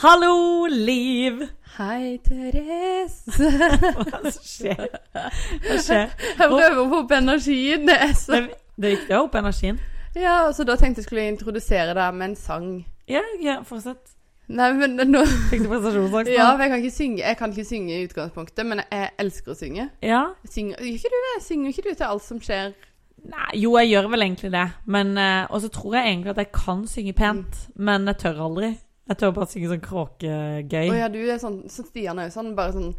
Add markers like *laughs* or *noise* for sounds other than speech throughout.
Hallo, Liv! Hei, Therese. Hva skjer? Hva *laughs* skjer? *laughs* Jeg prøver å få opp energien. Det er så Det, det gikk da opp energien. Ja, og så da tenkte jeg skulle introdusere deg med en sang. Ja, ja, fortsett. Nei, men nå Fikk du prestasjonsangst? nå? Ja, for jeg kan ikke synge Jeg kan ikke synge i utgangspunktet, men jeg elsker å synge. ja. Jeg Synger, gjør ikke du det? Synger ikke du til alt som skjer? Nei, jo, jeg gjør vel egentlig det. Men, eh, og så tror jeg egentlig at jeg kan synge pent, men jeg tør aldri. Jeg tør bare synge sånn kråkegøy. Å ja, du er sånn så Stian er jo sånn, bare sånn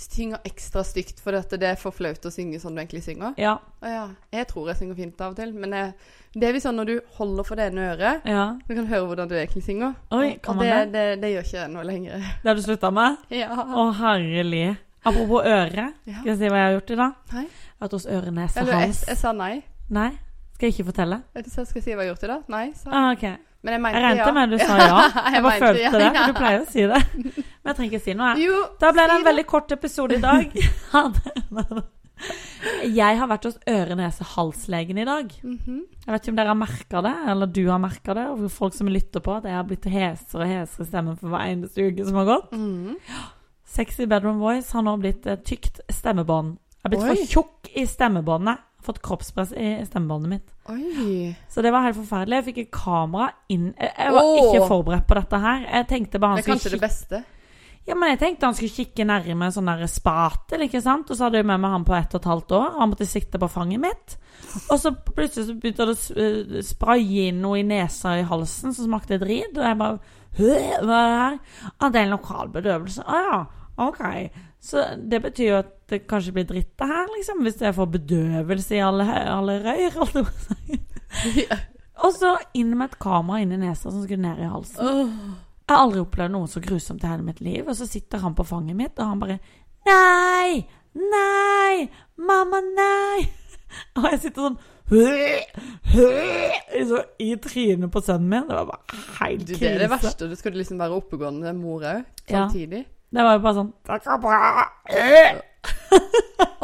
Synger ekstra stygt, for dette, det er for flaut å synge sånn du egentlig synger. ja. Å ja. Jeg tror jeg synger fint av og til, men jeg, det er visst sånn når du holder for det ene øret ja. Du kan høre hvordan du egentlig synger. Oi, kan og man det, det? det, det gjør ikke jeg nå lenger. Det har du slutta med? Ja. Å, herlig. Apropos øre. Ja. Skal jeg si hva jeg har gjort i dag? Nei. Jeg har vært hos ørenese Eller jeg, hals. jeg sa nei. Nei, skal jeg ikke fortelle? Vet du hva jeg skal si hva jeg har gjort i dag? Nei, sa Ah, ok. Men jeg mente Jeg regnet ja. med *laughs* du sa ja. Jeg bare mente følte ja, det. *laughs* ja. for Du pleier å si det. *laughs* Men jeg trenger ikke si noe, jeg. Jo, Da ble det si en veldig kort episode i *laughs* dag. Ha det. Jeg har vært hos øre-nese-halslegen i dag. Mhm. Jeg vet ikke om dere har merka det, eller du har merka det, og folk som lytter på, at jeg har blitt hesere og hesere i stemmen for hver eneste uke som har gått. Mhm. Sexy Bedroom Voice har nå blitt et tykt stemmebånd. Jeg har blitt Oi. for tjukk i stemmebåndet. Jeg har Fått kroppspress i stemmebåndet mitt. Oi. Så det var helt forferdelig. Jeg fikk et kamera inn Jeg jeg var Åh. ikke forberedt på dette her. Jeg tenkte bare Det han er kanskje skulle det kikke, *laughs* beste. ja, men jeg tenkte han skulle kikke nærme en sånn der spatel, ikke sant. Og så hadde jeg med meg han på ett og et halvt år, og han måtte sitte på fanget mitt. Og så plutselig så begynte det å s- eh, spraye inn noe i nesa og i halsen som smakte drit, og jeg bare «Hø, Hva er det her? Ah, det er en lokal bedøvelse. Å ja, ok. Så det betyr jo at det kanskje blir dritt det her, liksom. Hvis jeg får bedøvelse i alle, alle røyr, holdt jeg på å si. Ja. Og så inn med et kamera inn i nesa som skulle ned i halsen. Åh. Jeg har aldri opplevd noe så grusomt i hele mitt liv. Og så sitter han på fanget mitt, og han bare Nei! Nei! Mamma, nei! *laughs* Og jeg sitter sånn *laughs* «Hø, hø», så I trynet på sønnen min. Det var bare helt Du, krise. det er det verste. Du skulle liksom være oppegående mor òg, Ja. samtidig. Det var jo bare sånn Det går bra. Øh.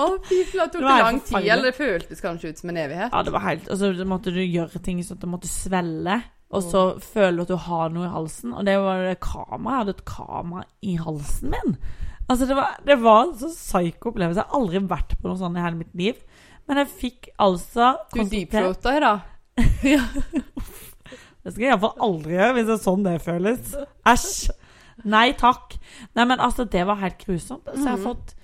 Å, fy flate. Tok Det det var helt lang tid? forferdelig. Eller det føltes kanskje ut som en evighet? Ja, det var helt Og så måtte du gjøre ting sånn at det måtte svelle. Og så føler du at du har noe i halsen. Og det var det kamera. Jeg hadde et kamera i halsen min. Altså, det var, det var en sånn psyko opplevelse. Jeg har aldri vært på noe sånt i hele mitt liv. Men jeg fikk altså Du konsultert- deepthroata i dag. ja. Det skal jeg iallfall aldri gjøre, hvis det er sånn det føles. Æsj. Nei takk. Nei, men altså, det var helt grusomt. Så Mhm. jeg har fått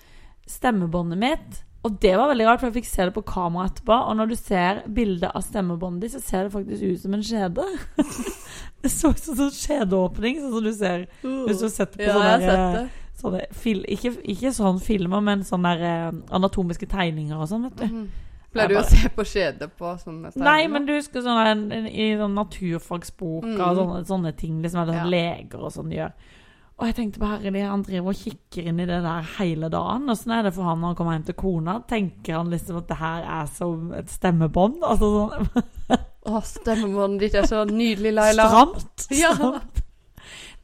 stemmebåndet mitt. Og det var veldig rart, for jeg fikk se det på kamera etterpå. Og når du ser bildet av stemmebåndet ditt, så ser det faktisk ut som en skjede. *laughs* det så ut som en sånn skjedeåpning, sånn som du ser hvis du setter på Ja, jeg har sånne, sett der, eh, det. sånne fil, ikke, ikke sånn filmer, men sånne der, eh, anatomiske tegninger og sånn, vet du. Mhm. Pleier du Jeg å se på skjedet på sånne Nei, men du husker sånn en, en, i sånn naturfagsboka Mm. og sånne, sånne ting. Liksom, eller sånn Ja. leger og sånn gjør. Og jeg tenkte på herre, han driver og kikker inn i det der hele dagen. Åssen er det for han når han kommer hjem til kona? Tenker han liksom at det her er som et stemmebånd? Altså sånn Å, stemmebåndet ditt er så nydelig, Laila. stramt? *laughs* Ja. sånn stramt.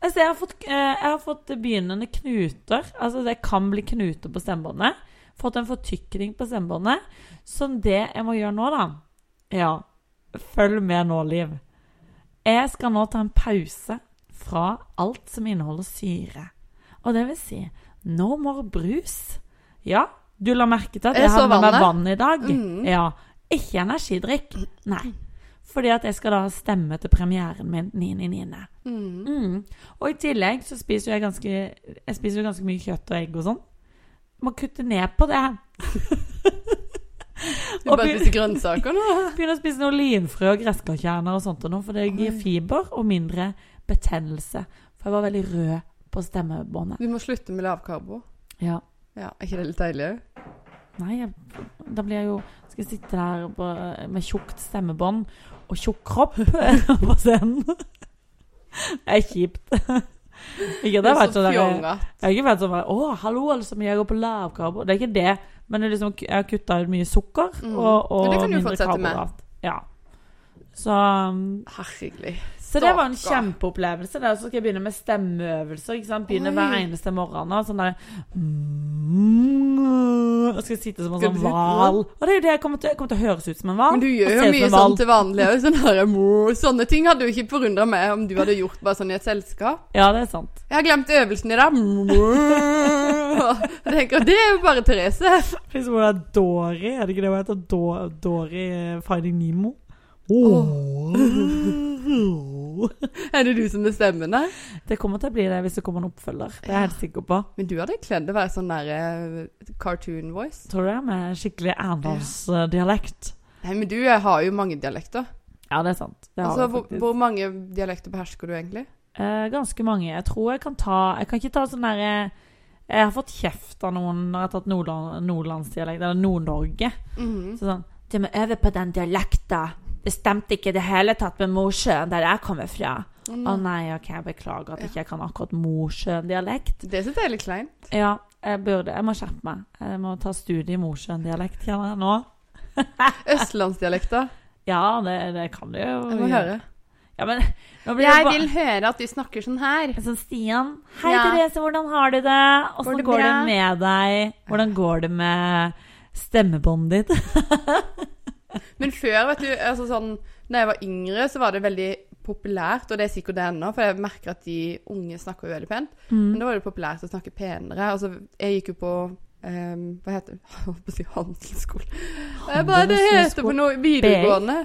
Altså, jeg har fått, eh, jeg har fått begynnende knuter. Altså, det kan bli knuter på stemmebåndet. Fått en fortykning på stemmebåndet. Så det jeg må gjøre nå, da Ja, følg med nå, Liv. Jeg skal nå ta en pause fra alt som inneholder syre. Og det vil si no more brus. Ja, du la merke til at jeg Jeg hadde så med meg vannet. vann i dag. Mm. Ja. Ikke energidrikk. Nei. Fordi at jeg skal da stemme til premieren min 9.9. Mm. Mm. Og i tillegg så spiser jo jeg ganske Jeg spiser jo ganske mye kjøtt og egg og sånn. Må kutte ned på det. Du Og bare be- spiser grønnsaker nå. *laughs* Begynne å spise noe linfrø og gresskarkjerner og sånt og noe, for det gir fiber og mindre betennelse. For jeg var veldig rød på stemmebåndet. Du må slutte med lavkarbo. Ja. Ja, er ikke det litt deilig òg? Nei, jeg, da blir jeg jo Skal jeg sitte der på, med tjukt stemmebånd og tjukk kropp *laughs* på scenen? Det er kjipt. *laughs* Ikke at jeg vet sånn der- Jeg har ikke vært sånn bare, Å, hallo, alle som jeg går på lavkarbo. Det er ikke det. Men det er liksom, jeg har kutta ut mye sukker Mm. og, og Men det kan du mindre fortsette med. karbohydrat. Ja. Så, um, Herregud. så det var en Stakkar. kjempeopplevelse. Der. Så skal jeg begynne med stemmeøvelser. Ikke sant? Begynne Oi. hver eneste morgen. Og sånn der Og skal sitte som en Skal sånn du- hval. Og det er jo det jeg kommer til, jeg kommer til å høres ut som en hval. Men du og gjør se jo ut som mye en hval. sånn til vanlig òg. Sånn her, «Mo». sånne ting hadde jo ikke forundra meg om du hadde gjort bare sånn i et selskap. Ja, det er sant. Jeg har glemt øvelsen i dag. «Mo». *laughs* Jeg tenker, det er jo bare Therese. Fins ordet er Dory? Er det ikke det hun heter? Do- Dory eh, Finding Nemo? Åh. Er det du som bestemmer det? *laughs* Det kommer til å bli det hvis det kommer en oppfølger. Det er jeg helt sikker på. Men du hadde kledd å være sånn der eh, cartoon voice. Tror du det? Med skikkelig Arendalsdialekt. Nei, men du eh, har jo mange dialekter. Ja, det er sant. Det har Altså, jeg hvor, faktisk. hvor mange dialekter behersker du egentlig? Eh, ganske mange. Jeg tror jeg kan ta Jeg kan ikke ta sånn derre Jeg har fått kjeft av noen når jeg har tatt nordland, nordlandsdialekt, eller Nord-Norge. Mhm. Så sånn Du må øve på den dialekta. Det stemte ikke i det hele tatt med Mosjøen, der jeg kommer fra. Å, Å nei. nei, ok, jeg beklager at ikke jeg kan akkurat Mosjøen-dialekt. Det syns jeg er litt kleint. Ja, jeg burde Jeg må skjerpe meg. Jeg må ta studie i Mosjøen-dialekt, kjenner jeg nå. Østlandsdialekter. Ja, det, det kan du jo. Jeg må høre. Ja, men nå blir jeg bare høre at du snakker sånn her. Sånn Stian. Hei, Ja. Therese, hvordan har du det? Går Åssen det går, det bra?» med deg? Hvordan går det med stemmebåndet ditt? Men før, vet du, altså sånn Da jeg var yngre, så var det veldig populært, og det er sikkert det ennå, for jeg merker at de unge snakker jo veldig pent. Mm. Men da var det populært å snakke penere. Altså, jeg gikk jo på ehm, hva heter det? *laughs* Jeg holdt på å si handelsskole. Jeg bare, det heter på noe videregående.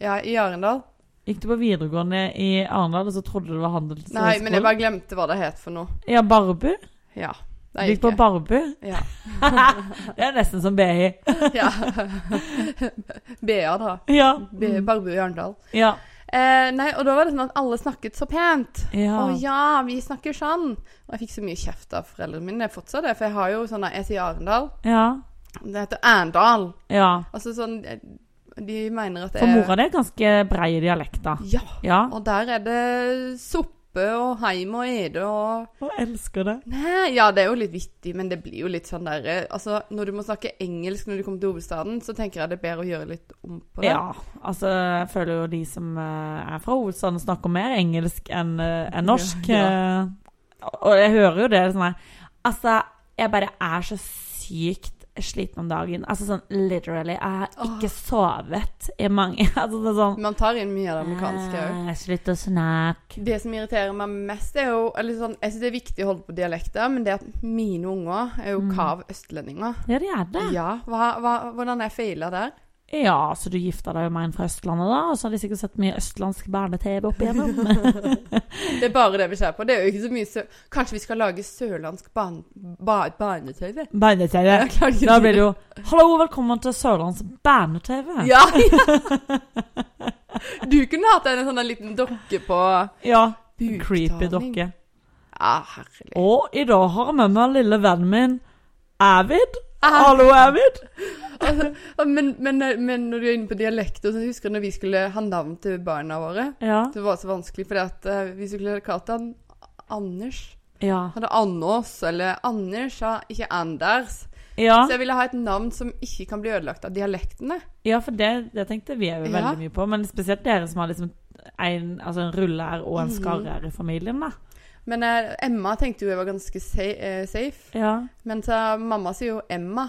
Ja, i Arendal. Gikk du på videregående i Arendal, og så trodde du det var handelshøyskole? Nei, men jeg bare glemte hva det het for noe. Ja, Barbu? Ja. Du Det gikk på *laughs* gikk jeg. Barbu? Ja. *laughs* det er nesten som BI. ja. *laughs* BA, da. Ja. B- Mm. Barbu i Arendal. Ja. Eh, nei, og da var det sånn at alle snakket så pent. ja. Å ja, vi snakker sånn. Og jeg fikk så mye kjeft av foreldrene mine. Jeg fortsatt det, for jeg har jo sånn Jeg sier Arendal. ja. Det heter Arendal. ja. Altså sånn eh, De mener at det For mora di er ganske brei i dialekt, da. Ja. Ja. Og der er det soppe og heim og ede og Og elsker det. Nei, ja, det er jo litt vittig, men det blir jo litt sånn der eh, Altså, når du må snakke engelsk når du kommer til hovedstaden, så tenker jeg det er bedre å gjøre litt om på det. Ja. Altså, jeg føler jo de som eh, er fra hovedstaden, snakker mer engelsk enn eh, enn norsk. eh, Og jeg hører jo det sånn her Altså, jeg bare er så sykt sliten om dagen. Altså sånn literally. Jeg har ikke sovet i mange *laughs* Altså det er sånn Man tar inn mye av det amerikanske òg. eh, Slutt å snakke. Det som irriterer meg mest, er jo eller sånn, Jeg syns det er viktig å holde på dialekter, men det at mine unger er jo kav østlendinger. Mm. Ja, det er det. Ja, hva, hva, Hvordan er feila der? Ja, så du gifta deg jo med en fra Østlandet, da? Og så har de sikkert sett mye østlandsk barne-TV opp igjennom. Det er bare det vi ser på. Det er jo ikke så mye sø Kanskje vi skal lage sørlandsk ban ba barne-TV? Barne-TV. Jeg klarer ikke å Da si blir det jo 'Hallo, velkommen til Sørlands barne-TV'. Ja, ja. Du kunne hatt en sånn liten dokke på Ja, buktaling. creepy dokke. Ja, herlig. Og i dag har jeg med meg lille vennen min Avid. Ah, Hallo, Avid. altså, men, men, men når du er inne på dialekter, så husker jeg når vi skulle ha navn til barna våre. Ja. Det var så vanskelig, fordi at eh, vi skulle kalt han Anders. Ja. Han hadde Annås, eller Anders, ja, ikke Anders. Ja, Så jeg ville ha et navn som ikke kan bli ødelagt av dialektene. ja for det, det tenkte vi jo Ja. veldig mye på. Men spesielt dere som har liksom en, altså en rullær og Mm. en skarrer i familien, da. Men eh, Emma tenkte jo jeg var ganske sa eh, safe. Ja. Men så mamma sier jo Emma.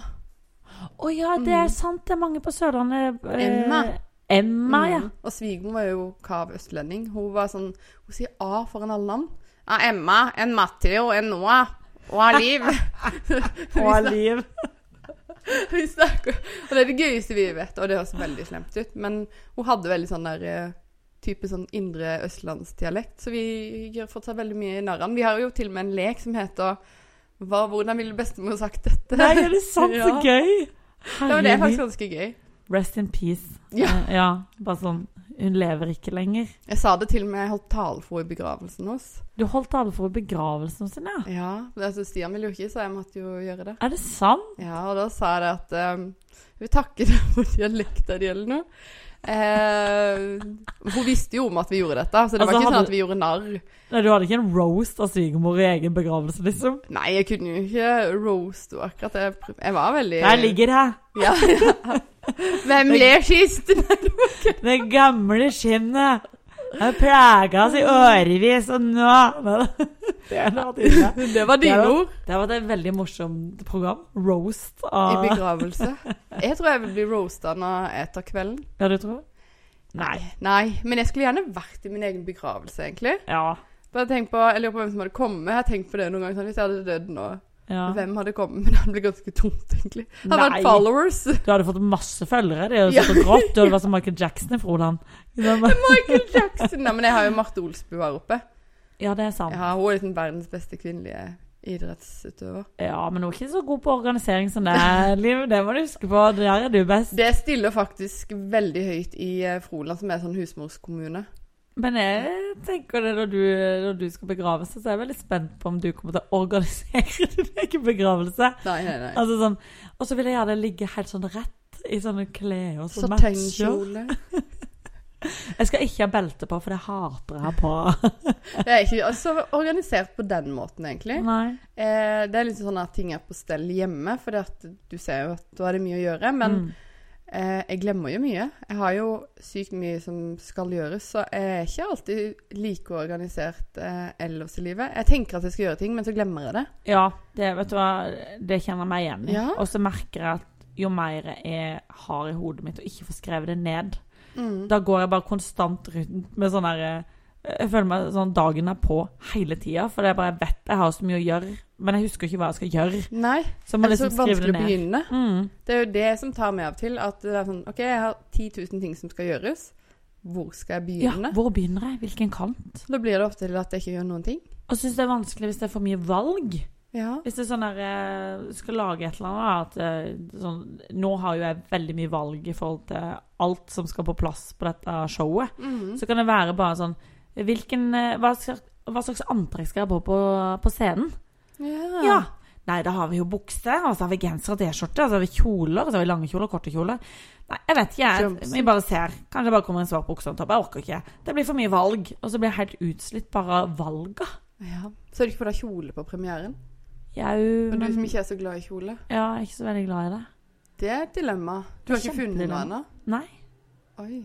Å ja, det er sant. Det er mange på Sørlandet. eh, Mm. Emma. Emma, ja. Mm. Og svigermor var jo kav østlending. Hun var sånn Hun sier A foran alle navn. Ja, Emma, en Matteo, en Noah og av Liv. *laughs* Og Liv. Vi snakker Og det er det gøyeste vi vet, og det høres veldig slemt ut. Men hun hadde veldig sånn der eh, type sånn indre østlandsdialekt, så vi gjør fortsatt veldig mye narr av den. Vi har jo til og med en lek som heter hva, 'Hvordan ville bestemor sagt dette?' Nei, er det sant? Så Ja. gøy! *laughs* Ja, men det er faktisk Herregud. ganske gøy. Rest in peace. *laughs* Ja. Eh, ja. Bare sånn Hun lever ikke lenger. Jeg sa det til og med jeg holdt tale for henne i begravelsen hos. Du holdt alle for begravelsen sin, ja. Ja, men altså Stian ville jo ikke, så jeg måtte jo gjøre det. Er det sant? Ja, og da sa jeg det at eh, jeg vil takke *laughs* deg for dialekta di eller noe. Eh, hun visste jo om at vi gjorde dette, så det Altså, var ikke hadde- sånn at vi gjorde narr. Nei, Du hadde ikke en roast av svigermor i egen begravelse, liksom? Nei, jeg kunne jo ikke roast henne akkurat. Jeg, prøv- jeg var veldig Der ligger det! Ja, ja. Hvem *laughs* ler sist? Det gamle skinnet har plaga oss i årevis, og nå *laughs* Det er noe tidligere. Det var dine Det var- ord. Det var et veldig morsomt program. Roast I av begravelse. Jeg tror jeg vil bli roasta når jeg tar kvelden. Ja, du tror? Nei. Nei, men jeg skulle gjerne vært i min egen begravelse, egentlig. Ja. Bare tenk på, Jeg lurer på hvem som hadde kommet. Jeg har tenkt på det noen ganger. Sånn, hvis jeg hadde dødd nå, ja. hvem hadde kommet? *laughs* Men det hadde blitt ganske tomt, egentlig. Det hadde Nei. vært followers. *laughs* Du hadde fått masse følgere. Det er jo sånn grått. Du hadde vært som Michael Jackson i *laughs* Froland. Michael Jackson. Nei, men jeg har jo Marte Olsbu her oppe. Ja, det er sant. Ja, hun er liksom verdens beste kvinnelige idrettsutøver. Ja, men hun er ikke så god på organisering som deg, *laughs* Liv. Det må du huske på. Der er du best. Det stiller faktisk veldig høyt i eh, Froland, som er sånn husmorskommune. Men jeg tenker det når du, når du skal begraves, så er jeg veldig spent på om du kommer til å organisere *laughs* din egen begravelse. Nei, nei, nei. Altså sånn, og så vil jeg gjerne ligge helt sånn rett i sånne klær og så matcher. Satengkjole. Jeg skal ikke ha belte på, for det hater jeg på. Det er ikke altså, organisert på den måten, egentlig. *laughs* Nei. Eh, det er litt sånn at ting er på stell hjemme, for det at du ser jo at du har det mye å gjøre. Men Mm. eh, jeg glemmer jo mye. Jeg har jo sykt mye som skal gjøres, så jeg er ikke alltid like organisert eh, ellers i livet. Jeg tenker at jeg skal gjøre ting, men så glemmer jeg det. Ja, det, vet du hva, det kjenner jeg meg igjen i. Ja. Og så merker jeg at jo mer jeg har i hodet mitt og ikke får skrevet det ned, Mm. da går jeg bare konstant rundt med sånn derre jeg føler meg sånn dagen er på hele tida, for det er bare jeg vet jeg har så mye å gjøre, men jeg husker ikke hva jeg skal gjøre. Nei, Så jeg det må er så liksom skrive det vanskelig å ned. begynne. Mm. Det er jo det som tar meg av til. At det er sånn OK, jeg har 10 000 ting som skal gjøres. Hvor skal jeg Ja, begynne? hvor begynner jeg? Hvilken kant? Da blir det ofte til at jeg ikke gjør noen ting. Og syns det er vanskelig hvis det er for mye valg. Ja. Hvis det er sånn der eh, skal lage et eller annet da, at, eh, sånn, Nå har jo jeg veldig mye valg i forhold til alt som skal på plass på dette showet. Mm. Så kan det være bare sånn hvilken, eh, hva, slags, hva slags antrekk skal jeg ha på, på på scenen? ja. Ja. Nei, da har vi jo bukse, og så har vi genser og T-skjorte, og så har vi kjoler, og så har vi lange kjoler og korte kjoler. Nei, jeg vet ikke, jeg. Jumpsuit. Vi bare ser. Kanskje det bare kommer en svart bukse og en topp. Jeg orker ikke. Det blir for mye valg. Og så blir jeg helt utslitt bare av valga. Ja. Så er det ikke på deg kjole på premieren. Jau, Men du men som ikke er så glad i kjole. Ja, jeg er ikke så veldig glad i det. Det er et dilemma. Du har Det er ikke funnet noe ennå? kjempedilemma. Nei. Oi.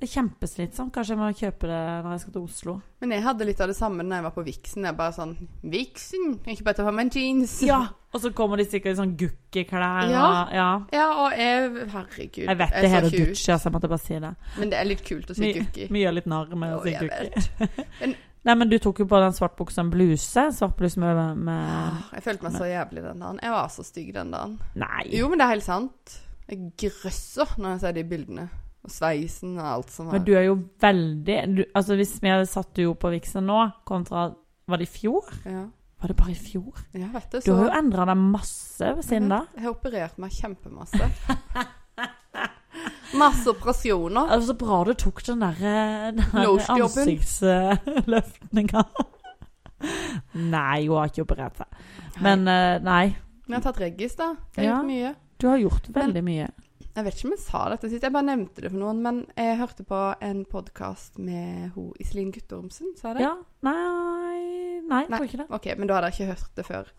Det er kjempeslitsomt. Kanskje jeg må kjøpe det når jeg skal til Oslo. *laughs* Men jeg hadde litt av det samme da jeg var på Vixen. Jeg bare sånn Vixen! Jeg Ikke bare ta på meg en jeans. Ja, Og så kommer de sikkert i sånn gukkeklær og Ja. ja. Ja, og jeg Herregud. Jeg vet jeg det så heter ikke ut. Gucci, altså, jeg måtte bare si det. Men det er litt kult å si gukki. Vi gjør litt narr med å Å, si jeg gukki. Men- Nei, men du tok jo på den svartbuksa en bluse. Svart bluse med, med Jeg følte meg så jævlig den dagen. Jeg var så stygg den dagen. Nei. Jo, men det er helt sant. Jeg grøsser når jeg ser de bildene. Og sveisen og alt som Men var. du er jo veldig du, Altså, hvis vi hadde satt du opp på Vixen nå, kontra Var det i fjor? Ja. Var det bare i fjor? Jeg vet det. Du har jo endra deg masse siden da. Jeg har operert meg kjempemasse. Masse operasjoner. Altså, så bra du tok den der, eh, den der Nose-jobben. ansiktsløftninga. *laughs* nei, hun har ikke operert seg. *laughs* Men eh, nei, Men jeg har tatt reggis, da. Det er Ja. gjort mye. du har gjort veldig mye. Jeg vet ikke om jeg sa dette sist, jeg bare nevnte det for noen. Men jeg hørte på en podkast med ho Iselin Guttormsen, sa jeg det? Ja, nei, nei, jeg Nei. tror ikke det. OK, men da hadde jeg ikke hørt det før.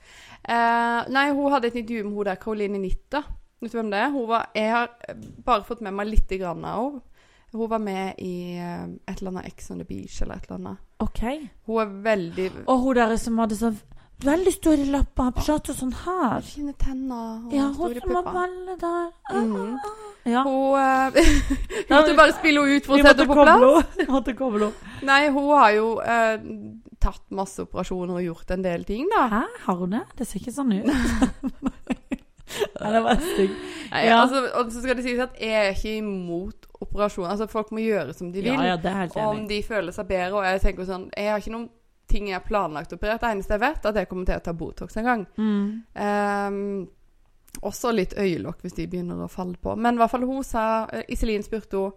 Eh, nei, hun hadde et intervju med hun der, Caroline Nitta. Vet du hvem det er? Hun var, jeg har eh, bare fått med meg litt grann av henne. Hun var med i eh, et eller annet Ex on the Beach eller et eller annet. OK. Hun er veldig Og hun der som hadde sånn veldig store lapper på skjørt og sånn her. Fine tenner og Ja, hun store som var pupper. veldig der. Mhm. Ja. Hun eh, *laughs* Vi måtte bare spille henne ut for Vi å sette måtte henne på plass. koble henne. Måtte koble henne. Nei, hun har jo eh, tatt masse operasjoner og gjort en del ting, da. Hæ, har hun det? Det ser ikke sånn *laughs* ut. Nei, det var stygg. Nei, Ja. altså, og så skal det sies at jeg er ikke imot operasjoner. Altså, folk må gjøre som de vil. Ja, ja, det er helt Og om enig. de føler seg bedre. Og jeg tenker jo sånn Jeg har ikke noen ting jeg har planlagt operert. Det eneste jeg vet, er at jeg kommer til å ta Botox en gang. Mm. Ehm, også litt øyelokk hvis de begynner å falle på. Men i hvert fall hun sa eh, Iselin spurte hun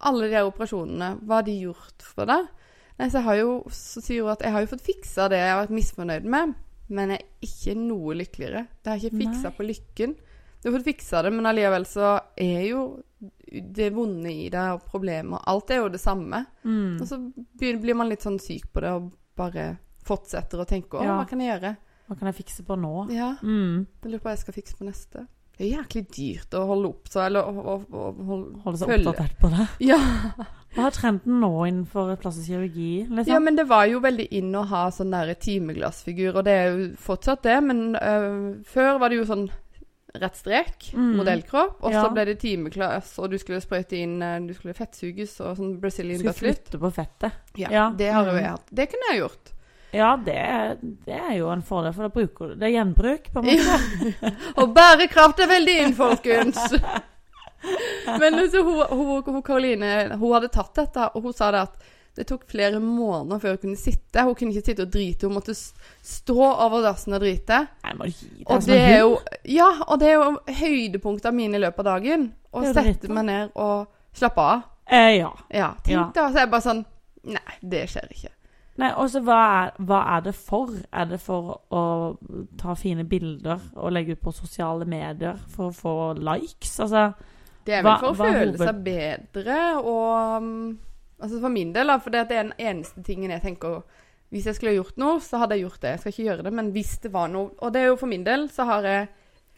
alle de her operasjonene, hva har de gjort for deg? Nei, så, jeg har jo, så sier hun at jeg har jo fått fiksa det jeg har vært misfornøyd med, men jeg er ikke noe lykkeligere. Det har jeg ikke fiksa på lykken. Du har fått fiksa det, men allikevel så er jo det vonde i deg og problemer Alt er jo det samme. Mm. Og så begynner- blir man litt sånn syk på det og bare fortsetter å tenke 'Å, Ja. hva kan jeg gjøre?' Hva kan jeg fikse på nå? Ja. Mm. Jeg lurer på hva jeg skal fikse på neste. Det er jæklig dyrt å holde opp så, eller å, å, å, *laughs* å holde, Holde seg følge- oppdatert på det. Ja, Hva er trenden nå innenfor plastisk kirurgi? Liksom? ja, men det var jo veldig inn å ha sånn der timeglassfigur, og det er jo fortsatt det, men øh, før var det jo sånn rett strek, Mm. modellkropp, og så Ja. ble det timeglass, og du skulle sprøyte inn, øh, du skulle fettsuges, og sånn Brazilian Skulle butt lift. flytte på fettet. Ja, Ja. det har jo Mm. jeg hatt. Det kunne jeg gjort. Ja, det, er- det er jo en fordel, for da bruker du Det er gjenbruk, på en måte. Ja. Og bærekraft er veldig inn, folkens! Men altså, hun, hun, hun Karoline hun hadde tatt dette, og hun sa det at det tok flere måneder før hun kunne sitte. Hun kunne ikke sitte og drite, hun måtte s- strå over dassen og drite. Nei, må du gi deg Og som det en er hund. jo Ja, og det er jo høydepunktet mine i løpet av dagen. Å Det er jo sette dritt, da. meg ned og slappe av. Eh, ja. Ja, Ja. tenk da. Så er jeg bare sånn Nei, det skjer ikke. Nei, og så hva, er- hva er det for? Er det for å ta fine bilder og legge ut på sosiale medier for å få likes? Altså, Det er vel Hva- for å hva er føle seg bedre og um, Altså for min del, da, for det at det er den eneste tingen jeg tenker Hvis jeg skulle gjort noe, så hadde jeg gjort det. Jeg skal ikke gjøre det, men hvis det var noe Og det er jo for min del, så har jeg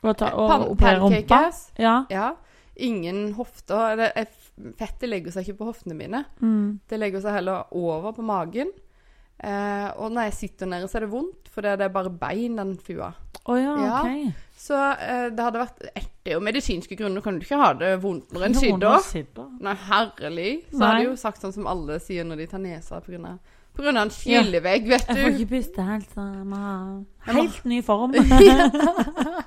å ta, å pan- operere rumpa? pancakes. Ja. Ja. Ingen hofter eller, jeg- Fettet legger seg ikke på hoftene mine. Mm. Det legger seg heller over på magen. Eh, og når jeg sitter nede, så er det vondt, for det er bare bein, den fua. Å ja, Ja. OK. Så eh, det hadde vært Det er jo medisinske grunner, kan du ikke ha det vondt når en Noen har sidder? sidder. Nei, herlig. Så Nei. hadde jeg jo sagt sånn som alle sier når de tar nesa på grunn av på grunn av en skillevegg, vet Jeg får du. ikke puste helt. så jeg må ha Jeg må- Helt ny *laughs* form. *laughs*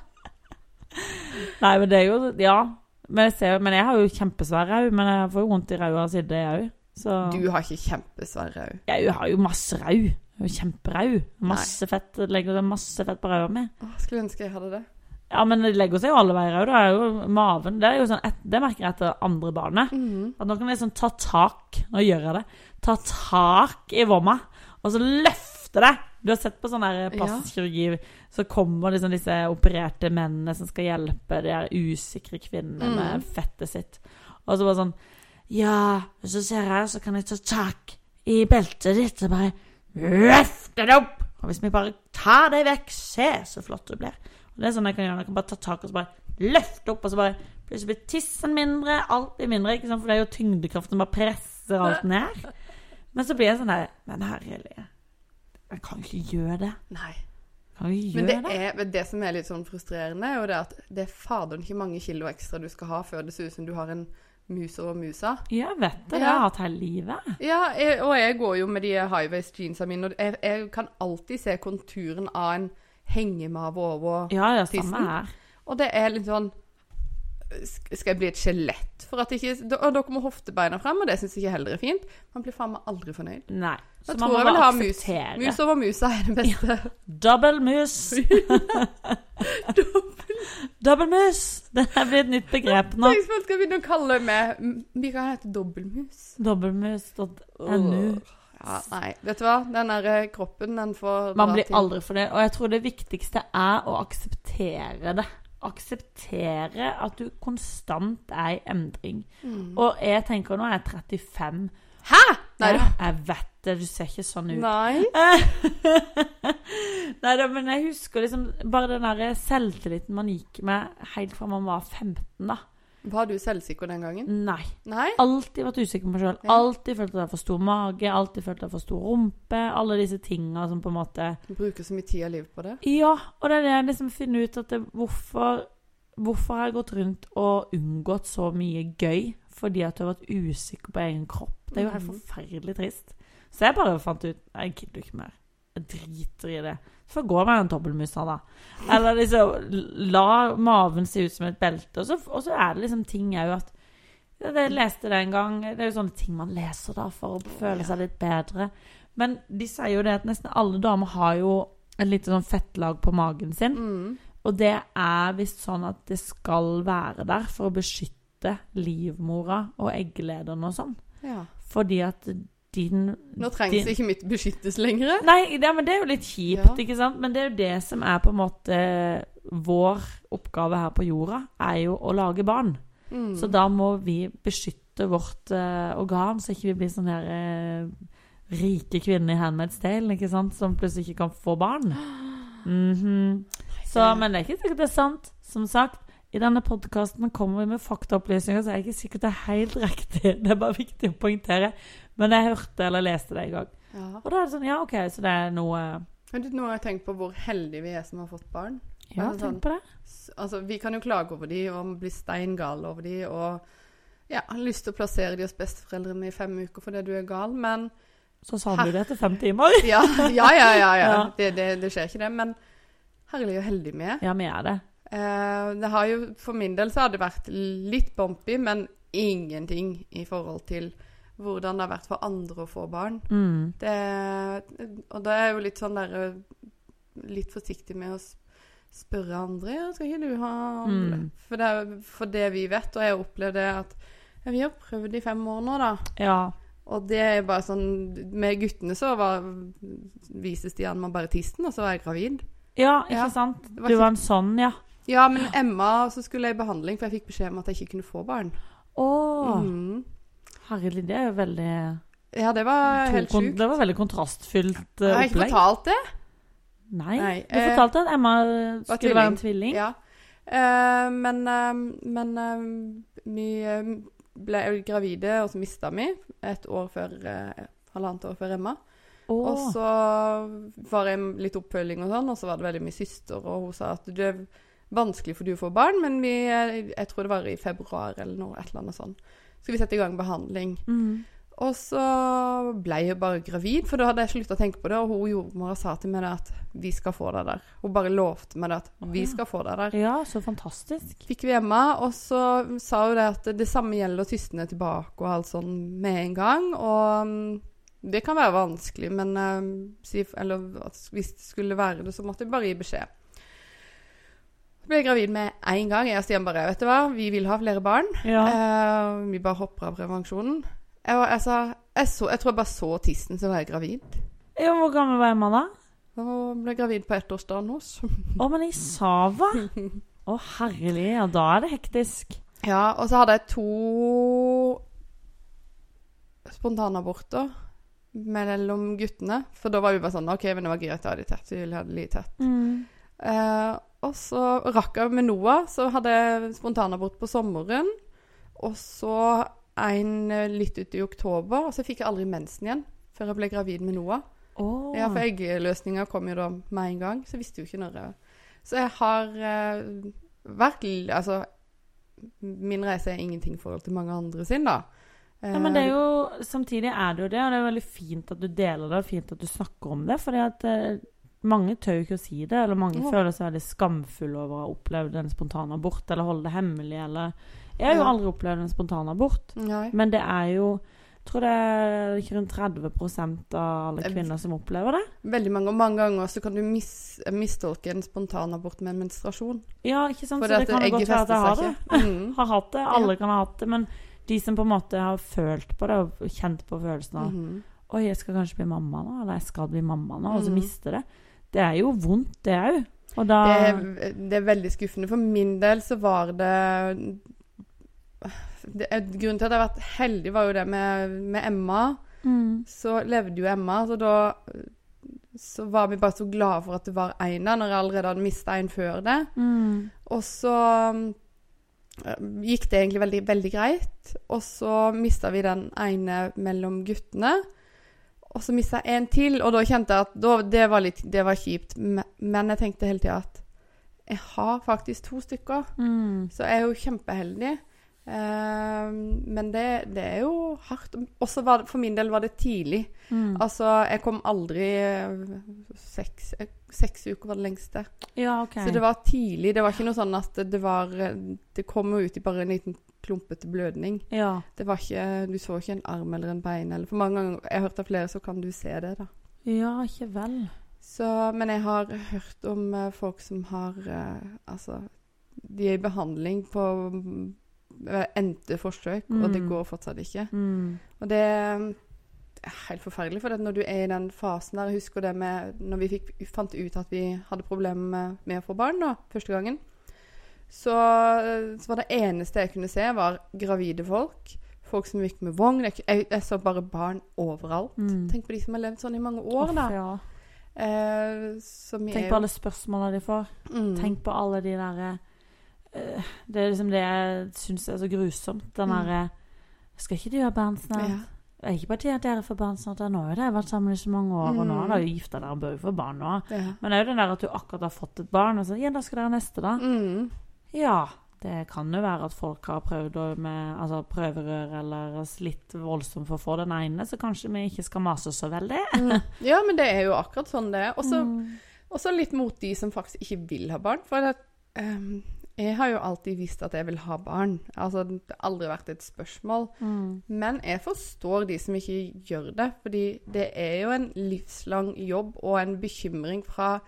Nei, men det er jo Ja. Men jeg, ser, men jeg har jo kjempesvær rau, men jeg får jo vondt i ræva av å sitte, jeg òg. Så Du har ikke kjempesvær rau. jeg har jo masse rau. Jeg er jo Kjemperau. Masse fett det legger det masse fett på ræva mi. Å, Skulle ønske jeg hadde det. Ja, men det legger seg jo alle veier òg. Det er jo maven Det, er jo sånn, et- det merker jeg etter andre barnet. Mhm. At nå kan jeg liksom ta tak Nå gjør jeg det. Ta tak i vomma, og så løfte det. Du har sett på sånn der plastisk kirurgi, så kommer liksom disse opererte mennene som skal hjelpe de her usikre kvinnene Mm. med fettet sitt. Og så bare sånn Ja, hvis du ser her, så kan jeg ta tak i beltet ditt og bare løfte det opp. Og hvis vi bare tar det vekk, se så flott du blir. Og det er sånn jeg kan gjøre. Jeg kan bare ta tak og så bare løfte opp, og så bare Plutselig blir tissen mindre, alt blir mindre, ikke sant? for det er jo tyngdekraften som bare presser alt ned. Men så blir jeg sånn der Men herlig, jeg kan ikke gjøre det. Nei. Jeg kan ikke gjøre Men det, det. er, men det som er litt sånn frustrerende, er jo det at det er faderen ikke mange kilo ekstra du skal ha før det ser ut som du har en mus over musa. Ja, vet du, det Ja. har jeg hatt hele livet. Ja, jeg, og jeg går jo med de high-waist jeansa mine, og jeg, jeg kan alltid se konturen av en hengemave over Ja, ja, Tissen? samme her. Og det er litt sånn sk- Skal jeg bli et skjelett? For at ikke, da, og da kommer hoftebeina frem, og det syns jeg ikke heller er fint. Man blir faen meg aldri fornøyd. Nei. Da Så man tror må jeg vel bare ha mus. akseptere. Mus over musa er det beste. Double mus. *laughs* Double mus. Det her blir et nytt begrep nå. *laughs* Tenk om man skal begynne å kalle meg m- Vi kan hete dobbeltmus. Dobbelmus.nu. Ja, nei, vet du hva? Den der eh, kroppen, den får Man dra blir til. aldri fornøyd. Og jeg tror det viktigste er å akseptere det. Akseptere at du konstant er i endring. Og jeg tenker nå er jeg 35. Mm. Nei da. Jeg, jeg vet det, du ser ikke sånn ut. Nei. *laughs* Nei da, men jeg husker liksom bare den der selvtilliten man gikk med helt fra man var 15, da. Var du selvsikker den gangen? Nei. Nei? Alltid vært usikker på meg sjøl. Ja. Alltid følt at jeg har for stor mage, alltid følt at jeg har for stor rumpe. Alle disse tinga som på en måte Du bruker så mye tid og liv på det. Ja, og det er det jeg liksom finner ut at det, hvorfor, hvorfor har jeg gått rundt og unngått så mye gøy fordi at du har vært usikker på egen kropp? Det er jo helt Mhm. forferdelig trist. Så jeg bare fant ut jeg gidder ikke mer. Jeg driter i det. Så får jeg gå med den dobbeltmusa, da. Eller liksom la maven se ut som et belte. Og så, og så er det liksom ting òg at det, det leste det en gang. Det er jo sånne ting man leser da for å føle seg litt bedre. Men de sier jo det at nesten alle damer har jo et lite sånn fettlag på magen sin. Mm. Og det er visst sånn at det skal være der for å beskytte livmora og egglederne og sånn. Ja. Fordi at din Nå trengs din- ikke mitt beskyttes lenger. Nei, ja, men det er jo litt kjipt, Ja. ikke sant? Men det er jo det som er på en måte vår oppgave her på jorda, er jo å lage barn. Mm. Så da må vi beskytte vårt eh, organ, så ikke vi blir sånne her eh, rike kvinner i Handmaid's Tale, ikke sant? Som plutselig *gasps* ikke kan få barn. Mhm. Så, men det er ikke sikkert det er sant. Som sagt, I denne podkasten kommer vi med faktaopplysninger, så jeg er ikke sikkert det er helt *laughs* riktig. Det er bare viktig å poengtere. Men jeg hørte eller leste det i gang. Ja. Og da er det sånn, ja, OK, så det er noe Men du, nå har jeg tenkt på hvor heldige vi er som har fått barn. Ja, sånn. Altså, tenk på det. S- Altså, vi kan jo klage over de, og bli steingale over de, og ja, har lyst til å plassere de hos besteforeldrene i fem uker fordi du er gal, men Så sa du det etter fem timer. Ja, ja, ja, ja. ja. Ja. Det, det, det skjer ikke, det. Men herlig og heldig vi er. *laughs* Ja, vi er det. Eh, det har jo, for min del så har det vært litt bumpy, men ingenting i forhold til hvordan det har vært for andre å få barn. Mm. Det, og da er jeg jo litt sånn der Litt forsiktig med å s- spørre andre ja, 'Skal ikke du ha Mm. for, det, er- for det vi vet, og jeg opplevde at ja, Vi har prøvd i fem år nå, da. Ja. Og det er bare sånn Med guttene så var, vises de an med bare tissen, og så var jeg gravid. Ja, ikke Ja. sant? Det var Du ikke- var en sånn, ja. Ja, men Emma så skulle jeg i behandling, for jeg fikk beskjed om at jeg ikke kunne få barn. Å, Mm. herregud, det er jo veldig Ja, det var to helt kon- sjukt. Det var veldig kontrastfylt eh, Jeg har ikke opplegg. fortalt det. Nei. Nei, Du eh, fortalte at Emma eh, var skulle være en tvilling. Ja. Eh, men eh, men eh, vi eh, ble gravide, og så mista vi et år før eh, Halvannet år før Emma. Å, Og så var jeg litt oppfølging og sånn, og så var det veldig mye søster, og hun sa at det er vanskelig for du å få barn, men vi, eh, jeg tror det var i februar eller noe, et eller annet sånt. Skal vi sette i gang behandling? mm. Og så ble jeg bare gravid, for da hadde jeg sluttet å tenke på det. Og hun jordmora sa til meg det at 'vi skal få deg der'. Hun bare lovte meg det at 'vi ja. skal få deg der'. ja, så fantastisk. Fikk vi Emma, og så sa hun det at det samme gjelder å tystne tilbake og alt sånn med en gang. Og mm, det kan være vanskelig, men eh, si, eller at hvis det skulle være det, så måtte jeg bare gi beskjed. Så ble jeg gravid med en gang. Jeg og Stian bare 'vet du hva, vi vil ha flere barn'. Ja. Eh, vi bare hopper av prevensjonen. Jeg, var, jeg, sa, jeg, så, jeg tror jeg bare så tissen, så var jeg gravid. Ja, hvor gammel var Emma da? Og ble gravid på ettårsdagen hos. Å, men i Sava? *laughs* Å, herlig. Ja, da er det hektisk. Ja, og så hadde jeg to spontanaborter mellom guttene. For da var vi bare sånn OK, men det var greit å ha de tett. Vi ville ha de litt tett. Mm. Eh, og så rakk jeg med Noah, så hadde jeg spontanabort på sommeren. Og så en eh, litt ut i oktober, og så fikk jeg aldri mensen igjen før jeg ble gravid med Noah. Å. Ja, for eggløsninga kom jo da med en gang, så jeg visste jo ikke når jeg Så jeg har eh, vært l- Altså, min reise er ingenting i forhold til mange andre sin, da. Ja, men Eh, det er jo, samtidig er det jo det, og det er veldig fint at du deler det, og fint at du snakker om det. fordi at eh, mange tør jo ikke å si det, eller mange Ja. føler seg veldig skamfulle over å ha opplevd en spontan abort, eller holde det hemmelig, eller Jeg har jo Ja. aldri opplevd en spontan abort, Nei. men det er jo jeg tror det er ikke rundt 30 av alle Jeg- kvinner som opplever det. Veldig mange og mange ganger så kan du mis, mistolke en spontanabort med en menstruasjon. Ja, ikke sant? For Så det at kan jo egget godt være at jeg har fester det. seg ikke. *laughs* Mm. Har hatt det, alle kan ha hatt det, men de som på en måte har følt på det, og kjent på følelsen av Mhm. Oi, jeg skal kanskje bli mamma nå, eller jeg skal bli mamma nå, og så Mhm. miste det. Det er jo vondt, det òg. Og da det, er, det er veldig skuffende. For min del så var det, det er- Grunnen til at jeg har vært heldig, var jo det med, med Emma. mm, så levde jo Emma, så da så var vi bare så glade for at det var en da, når jeg allerede hadde mista en før det. mm, Og så mm, gikk det egentlig veldig, veldig greit. Og så mista vi den ene mellom guttene. Og så mista jeg en til, og da kjente jeg at da, det, var litt, det var kjipt. Men- Men jeg tenkte hele tida at jeg har faktisk to stykker. mm. Så jeg er jo kjempeheldig. Eh, men det, det er jo hardt. Også var, det- for min del var det tidlig. Mm. Altså, jeg kom aldri eh, seks, eh, seks uker var det lengste. Ja, OK. Så det var tidlig. Det var ikke noe sånn at det var eh, Det kom jo ut i bare en liten klumpete blødning. ja. Det var ikke Du så ikke en arm eller en bein eller For mange ganger Jeg har hørt av flere, så kan du se det, da. ja, ikke vel. Så, men jeg har hørt om eh, folk som har eh, Altså, de er i behandling på mm, eh, endte forsøk, og det Mm. går fortsatt ikke. Mm. Og det er helt forferdelig, for at når du er i den fasen der Jeg husker det med når vi fikk, fant ut at vi hadde problemer med, med å få barn da, første gangen. Så, så var det eneste jeg kunne se, var gravide folk. Folk som gikk med vogn. Jeg, jeg, jeg så bare barn overalt. Mm. Tenk på de som har levd sånn i mange år, Uff, da. ja. Eh, som Tenk på alle spørsmålene de får. mm. Tenk på alle de derre eh, Det er liksom det jeg syns er så grusomt. Den Mm. derre Skal ikke du ha barn snart? Ja. Det er Ikke bare det at dere får barn snart, nå har jo dere vært sammen i så mange år, og nå Mm. har dere jo gifta dere og bør jo få barn nå. Ja. Men det er jo den der at du akkurat har fått et barn, og så ja, da skal dere ha neste, da. Mm. Ja. Det kan jo være at folk har prøvd å med altså prøverør eller slitt voldsomt for å få den ene, så kanskje vi ikke skal mase så veldig. ja, men det er jo akkurat sånn det er. Og så Mm. Og så litt mot de som faktisk ikke vil ha barn. For det, ehm, jeg har jo alltid visst at jeg vil ha barn. Altså, det har aldri vært et spørsmål. Mm. Men jeg forstår de som ikke gjør det. Fordi det er jo en livslang jobb og en bekymring fra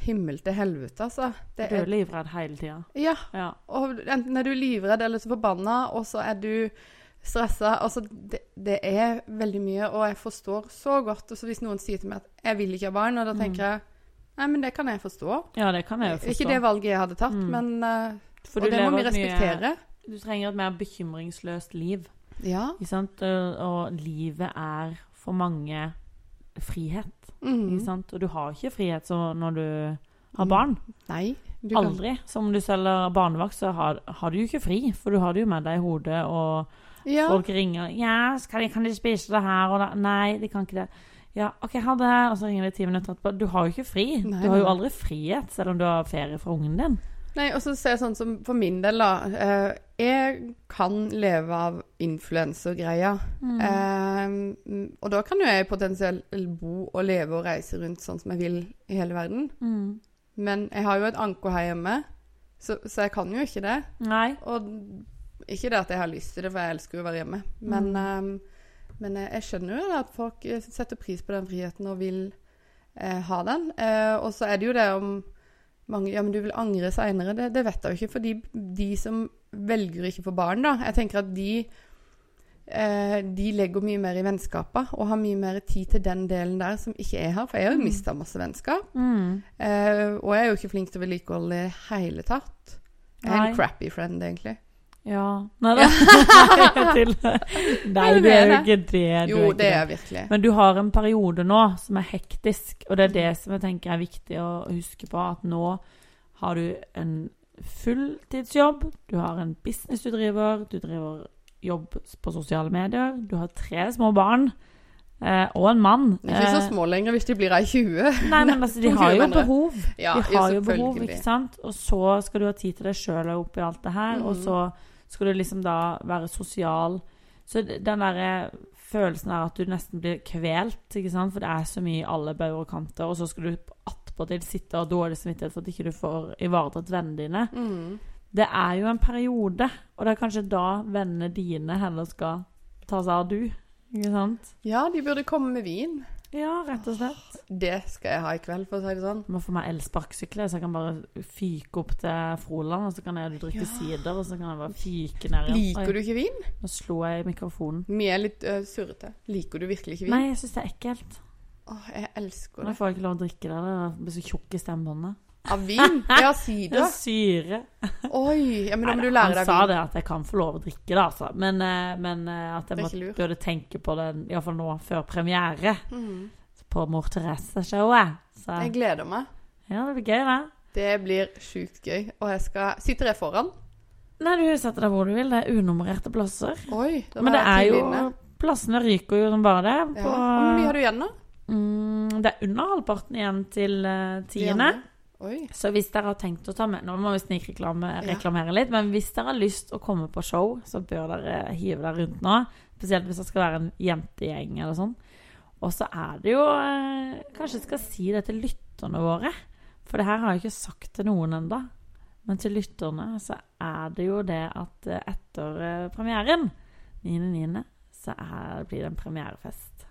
himmel til helvete, altså. Du Det er er, jo livredd hele tida. ja, Ja. og enten er du livredd eller så forbanna, og så er du stressa. Altså, det, det er veldig mye, og jeg forstår så godt. Og så hvis noen sier til meg at 'jeg vil ikke ha barn', og da tenker jeg Nei, men det kan jeg forstå. ja, det kan jeg jo Det er forstå. Ikke det valget jeg hadde tatt, Mm. men eh, For Og du det må lever vi et mye- respektere. Du trenger et mer bekymringsløst liv. Ja. Ikke sant? Og og livet er for mange frihet. Mm. Ikke sant? Og du har ikke frihet så når du har Mm. barn. Nei. Du kan- Aldri. Som om du selger barnevakt, så har, har du jo ikke fri. For du har det jo med deg i hodet, og Ja. folk ringer Ja, skal de, kan de spise det her og da? Nei, de kan ikke det. Ja, OK, ha det. Og så ringer de ti minutter etterpå. Du har jo ikke fri. Nei, du har jo nei. aldri frihet, selv om du har ferie fra ungen din. Nei, og så ser jeg sånn som for min del, da. eh, jeg kan leve av influensergreia. Mm, Eh, og da kan jo jeg potensielt bo og leve og reise rundt sånn som jeg vil i hele verden. Mm. Men jeg har jo et anke her hjemme, så, så jeg kan jo ikke det. Nei. Og ikke det at jeg har lyst til det, for jeg elsker jo å være hjemme. Men, ehm, men jeg jeg skjønner jo det at folk eh, setter pris på den friheten og vil eh, ha den. Eh, og så er det jo det om mange Ja, men du vil angre seinere. Det, det vet jeg jo ikke. For de, de som velger å ikke få barn, da Jeg tenker at de eh, de legger mye mer i vennskapet og har mye mer tid til den delen der som ikke jeg har. For jeg har jo mista masse vennskap. Mm. Eh, og jeg er jo ikke flink til å vedlikeholde i det hele tatt. Jeg er Nei. en crappy friend, egentlig. Ja. Nei *laughs* da. Nei, til. Nei, Ja, du du er er jo ikke det. Du Jo, ikke det er jeg virkelig. Men du har en periode nå som er hektisk, og det er det som jeg tenker er viktig å huske på, at nå har du en fulltidsjobb, du har en business du driver, du driver jobb på sosiale medier, du har tre små barn, eh, og en mann. De er ikke så Eh, små lenger hvis de blir *laughs* ei 20. Nei, men altså, *laughs* de to har jo kjøpere. behov. Ja, De har jo behov, selvfølgelig. ikke sant? Og så skal du ha tid til deg sjøl og oppi alt det her, og Mhm. så skal du liksom da være sosial. Så d- den derre følelsen er at du nesten blir kvelt, ikke sant? for det er så mye i alle bauger og kanter, og så skal du attpåtil sitte og ha dårlig samvittighet for at ikke du får ivaretatt vennene dine. Mm. Det er jo en periode, og det er kanskje da vennene dine heller skal ta seg av du, ikke sant? Ja, de burde komme med vin. Ja, rett og slett. Det skal jeg ha i kveld, for å si det sånn. Jeg må få meg elsparkesykler, så jeg kan bare fyke opp til Froland, og så kan jeg drikke sider, og så kan jeg bare fyke ned igjen. Liker du ikke vin? Nå slo jeg i mikrofonen. Vi er litt øh, surrete. Liker du virkelig ikke vin? Nei, jeg syns det er ekkelt. Åh, jeg elsker Nå det. får jeg ikke lov å drikke det. Det blir så tjukk i stemmebåndet. Av vin? *laughs* Ja, Det sider. er syre. Oi. Ja, men da må du han lære deg sa vin. det at jeg kan få lov å drikke det, altså. Men, eh, men eh, at jeg Det er må, ikke lurt. burde tenke på det iallfall nå, før premiere Mm. på Mor Therese-showet. Så Jeg gleder meg. ja, det blir gøy, det. Det blir sjukt gøy. Og jeg skal Sitter jeg foran? Nei, du setter deg hvor du vil. Det er unummererte plasser. Oi. da var Men det jeg er jo tidlig inne. Plassene ryker jo som bare det. ja. På, Hvor mye har du igjen, da? Mm, det er under halvparten igjen til eh, tiende. Janne? Oi. Så hvis dere har tenkt å ta med Nå må vi snikreklamere Ja. reklamere litt, men hvis dere har lyst å komme på show, så bør dere hive dere rundt nå. Spesielt hvis det skal være en jentegjeng eller sånn. Og så er det jo eh, Kanskje jeg skal si det til lytterne våre. For det her har jeg ikke sagt til noen enda. Men til lytterne så er det jo det at eh, etter eh, premieren, 9.9., så er, blir det en premierefest.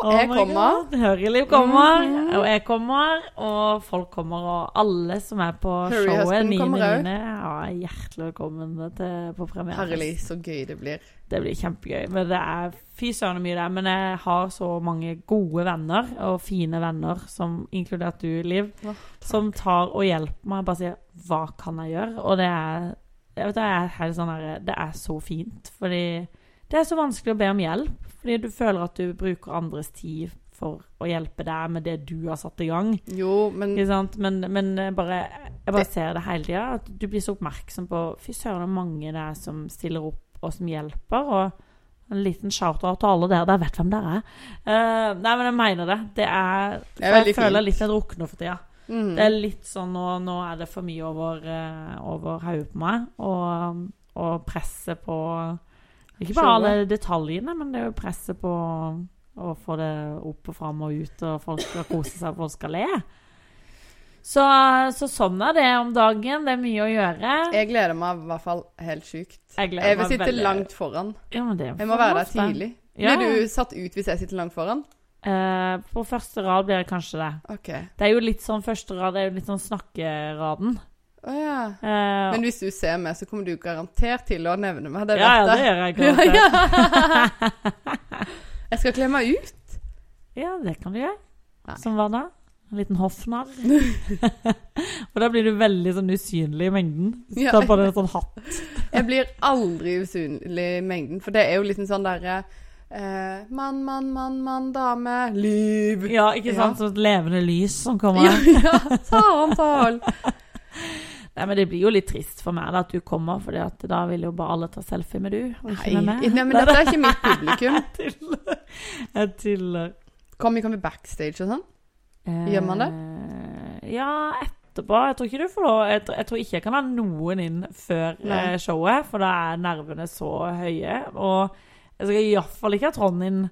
jeg Oh my kommer. God, Høreliv kommer, Mhm. og jeg kommer, og folk kommer, og alle som er på Hurry showet, Husband mine kommer også. mine, er hjertelig velkommen til, på Herlig, premiere. så gøy det blir. Det blir kjempegøy. Men det er fy søren så mye det er. Men jeg har så mange gode venner, og fine venner, som inkludert du, Liv, Åh, som tar og hjelper meg. Bare sier 'hva kan jeg gjøre?' Og det er jeg vet, det, er helt sånn her, det er så fint, fordi det er så vanskelig å be om hjelp. Fordi du føler at du bruker andres tid for å hjelpe deg med det du har satt i gang. Jo, men Ikke sant? Men, men jeg bare, jeg bare ser det hele tida. At du blir så oppmerksom på Fy søren, hvor mange det er som stiller opp og som hjelper. Og en liten shout-out til alle dere. Dere vet hvem dere er. Eh, nei, men jeg mener det. Det er, Det er veldig Jeg føler fint. litt jeg drukner for tida. mm. Det er litt sånn nå, nå er det for mye over, eh, over hodet på meg, og, og presset på Ikke bare alle detaljene, men det er jo presset på å få det opp og fram og ut, og folk skal kose seg, og folk skal le. Så, så sånn er det om dagen. Det er mye å gjøre. Jeg gleder meg i hvert fall helt sjukt. Jeg gleder Eh, Jeg vil meg sitte veldig. langt foran. Ja, men det er Jeg må for være der ofte. tidlig. Ja. Blir du satt ut hvis jeg sitter langt foran? Eh, på første rad blir det kanskje det. OK. Det er jo litt sånn første rad er jo litt sånn snakkeraden. Å ja. Eh, Men hvis du ser meg, så kommer du garantert til å nevne meg. Det ja, ja, vet det jeg. gjør jeg. *laughs* garantert. *laughs* Jeg skal kle meg ut. Ja, det kan du gjøre. Nei. Som hva da? En liten hoffnarr. *laughs* og da blir du veldig sånn usynlig i mengden. Ja. Ja. Da bare en sånn hatt. Jeg blir aldri usynlig i mengden, for det er jo liksom sånn derre eh, Mann, mann, mann, mann, dame. Liv. Ja, ikke sant? Som et levende lys som kommer. *laughs* Ja, ja. Ta om tall. Nei, men det blir jo litt trist for meg da, at du kommer, for da vil jo bare alle ta selfie med du. Og ikke Nei, med meg. nei, men dette er ikke mitt *laughs* publikum. Jeg tuller. Jeg tuller. Kan vi komme backstage og sånn? Eh, Gjør man Ja, etterpå. Jeg tror ikke du får lov. Jeg, tr- jeg tror ikke jeg kan ha noen inn før Nei. eh, showet, for da er nervene så høye. Og jeg skal iallfall ikke ha Trond inn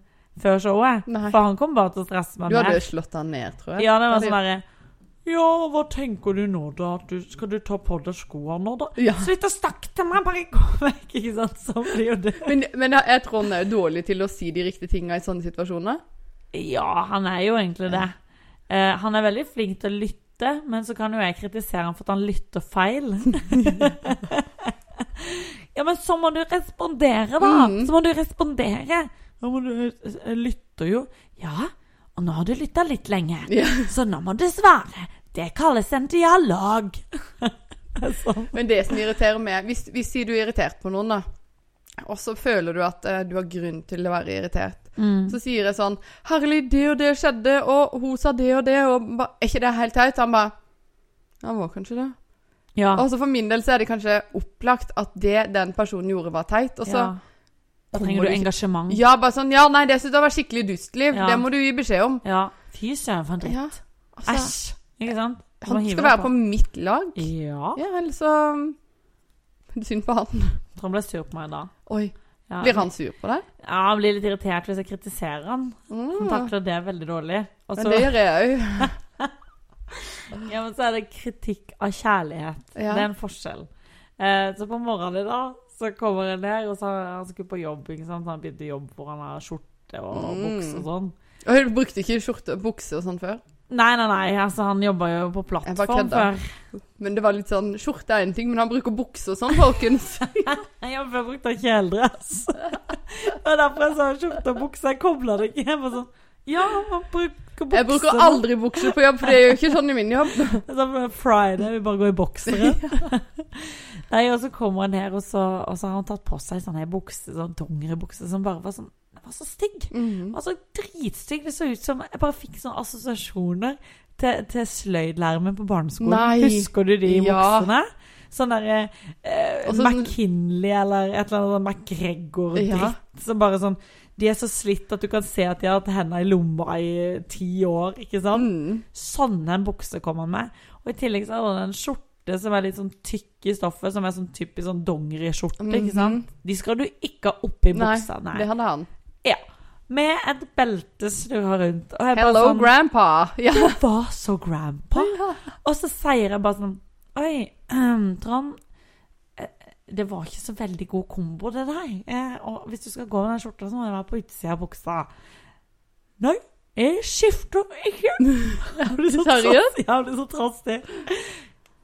før showet, Nei. for han kommer bare til å stresse meg Du hadde ned. slått han ned, tror jeg. Ja, det var Hadde- sånn derre ja, hva tenker du nå, da? At Du, skal du ta på deg skoene nå, da? Ja. Slutt å snakke til meg, bare gå vekk! Ikke sant? Sånn blir jo det. Men, men er Trond er jo dårlig til å si de riktige tinga i sånne situasjoner? Ja, han er jo egentlig det. Eh, han er veldig flink til å lytte, men så kan jo jeg kritisere han for at han lytter *laughs* feil. ja, men så må du respondere, da! Mm. Så må du respondere. Nå må du jeg lytter jo. Ja, og nå har du lytta litt lenge, *laughs* Ja. så nå må du svare. Det kalles en dialog. sånn. Men det som irriterer meg Hvis, hvis sier du er irritert på noen, da, og så føler du at eh, du har grunn til å være irritert, så sier jeg sånn 'Herlig, det og det skjedde, og hun sa det og det', og ba, 'Er ikke det helt teit?' Han bare 'Ja, var kanskje det'. Ja. Og så for min del så er det kanskje opplagt at det den personen gjorde, var teit. Og så ja. ja. Da kommer trenger du du ikke- engasjement. bare sånn 'Ja, nei, det syns jeg var skikkelig dustliv. Ja. Det må du gi beskjed om'. Ja. Fy søren, for en dritt. Ja, altså, Æsj. Ikke sant? Du må Han hive skal deg være på mitt lag. Ja. Ja, vel, så Synd på han. Trond ble sur på meg da. Oi. Ja. Blir han sur på deg? Ja, han blir litt irritert hvis jeg kritiserer han. Han Mm. takler det veldig dårlig. Og Men så, det gjør jeg òg. ja, men så er det kritikk av kjærlighet. Ja. Det er en forskjell. Eh, så på morgenen i dag så kommer han ned, og så han skulle på jobb. Ikke sant? Han begynte jobb hvor han har skjorte og Mm. bukse og sånn. Oi, Du brukte ikke skjorte og bukse og sånn før? Nei, nei, nei. Altså, han jobba jo på Jeg bare plattform kødda. før. Men det var litt sånn Skjorte er en ting, men han bruker *laughs* bukse og sånn, folkens. Jeg jobba før brukte han kjeledress. *laughs* Det var derfor jeg sa skjorte og bukse. Jeg kobla det ikke. Jeg var sånn Ja, han bruker bukse. Jeg bruker aldri bukse på jobb, for det er jo ikke sånn i min *laughs* jobb. Det er sånn Friday, vi bare går i *laughs* boksere. Nei, og så kommer han her, og så, og så har han tatt på seg sånn her bukse, sånn dongeribukse, som bare var sånn Den var så stygg. Mm. Den var så dritstygg. Det så ut som Jeg bare fikk sånne assosiasjoner til, til sløydlæreren på barneskolen. Nei. Husker du de Ja. buksene? Sånn derre eh, Og så sånn- McKinley eller et eller annet sånn McGregor-dritt. Ja. Som bare sånn De er så slitt at du kan se at de har hatt hendene i lomma i ti år, ikke sant? Mm. Sånne en bukse kom han med. Og i tillegg så hadde han en skjorte som er litt sånn tykk i stoffet, som er sånn typisk sånn dongeriskjorte, ikke sant? De skal du ikke ha oppi Mhm. Nei, buksa, nei. Det hadde han. Med et belte snurra rundt. Og jeg bare Hello, sånn grandpa. Ja. Du var så grandpa. Og så sier jeg bare sånn Oi, ehm, Trond. eh, Det var ikke så veldig god kombo, det der. Eh, og hvis du skal gå med den skjorta, så må den være på utsida av buksa. Nei, jeg skifter ikke. Jeg blir så trass- Seriøst? Ja, jeg blir så trassig.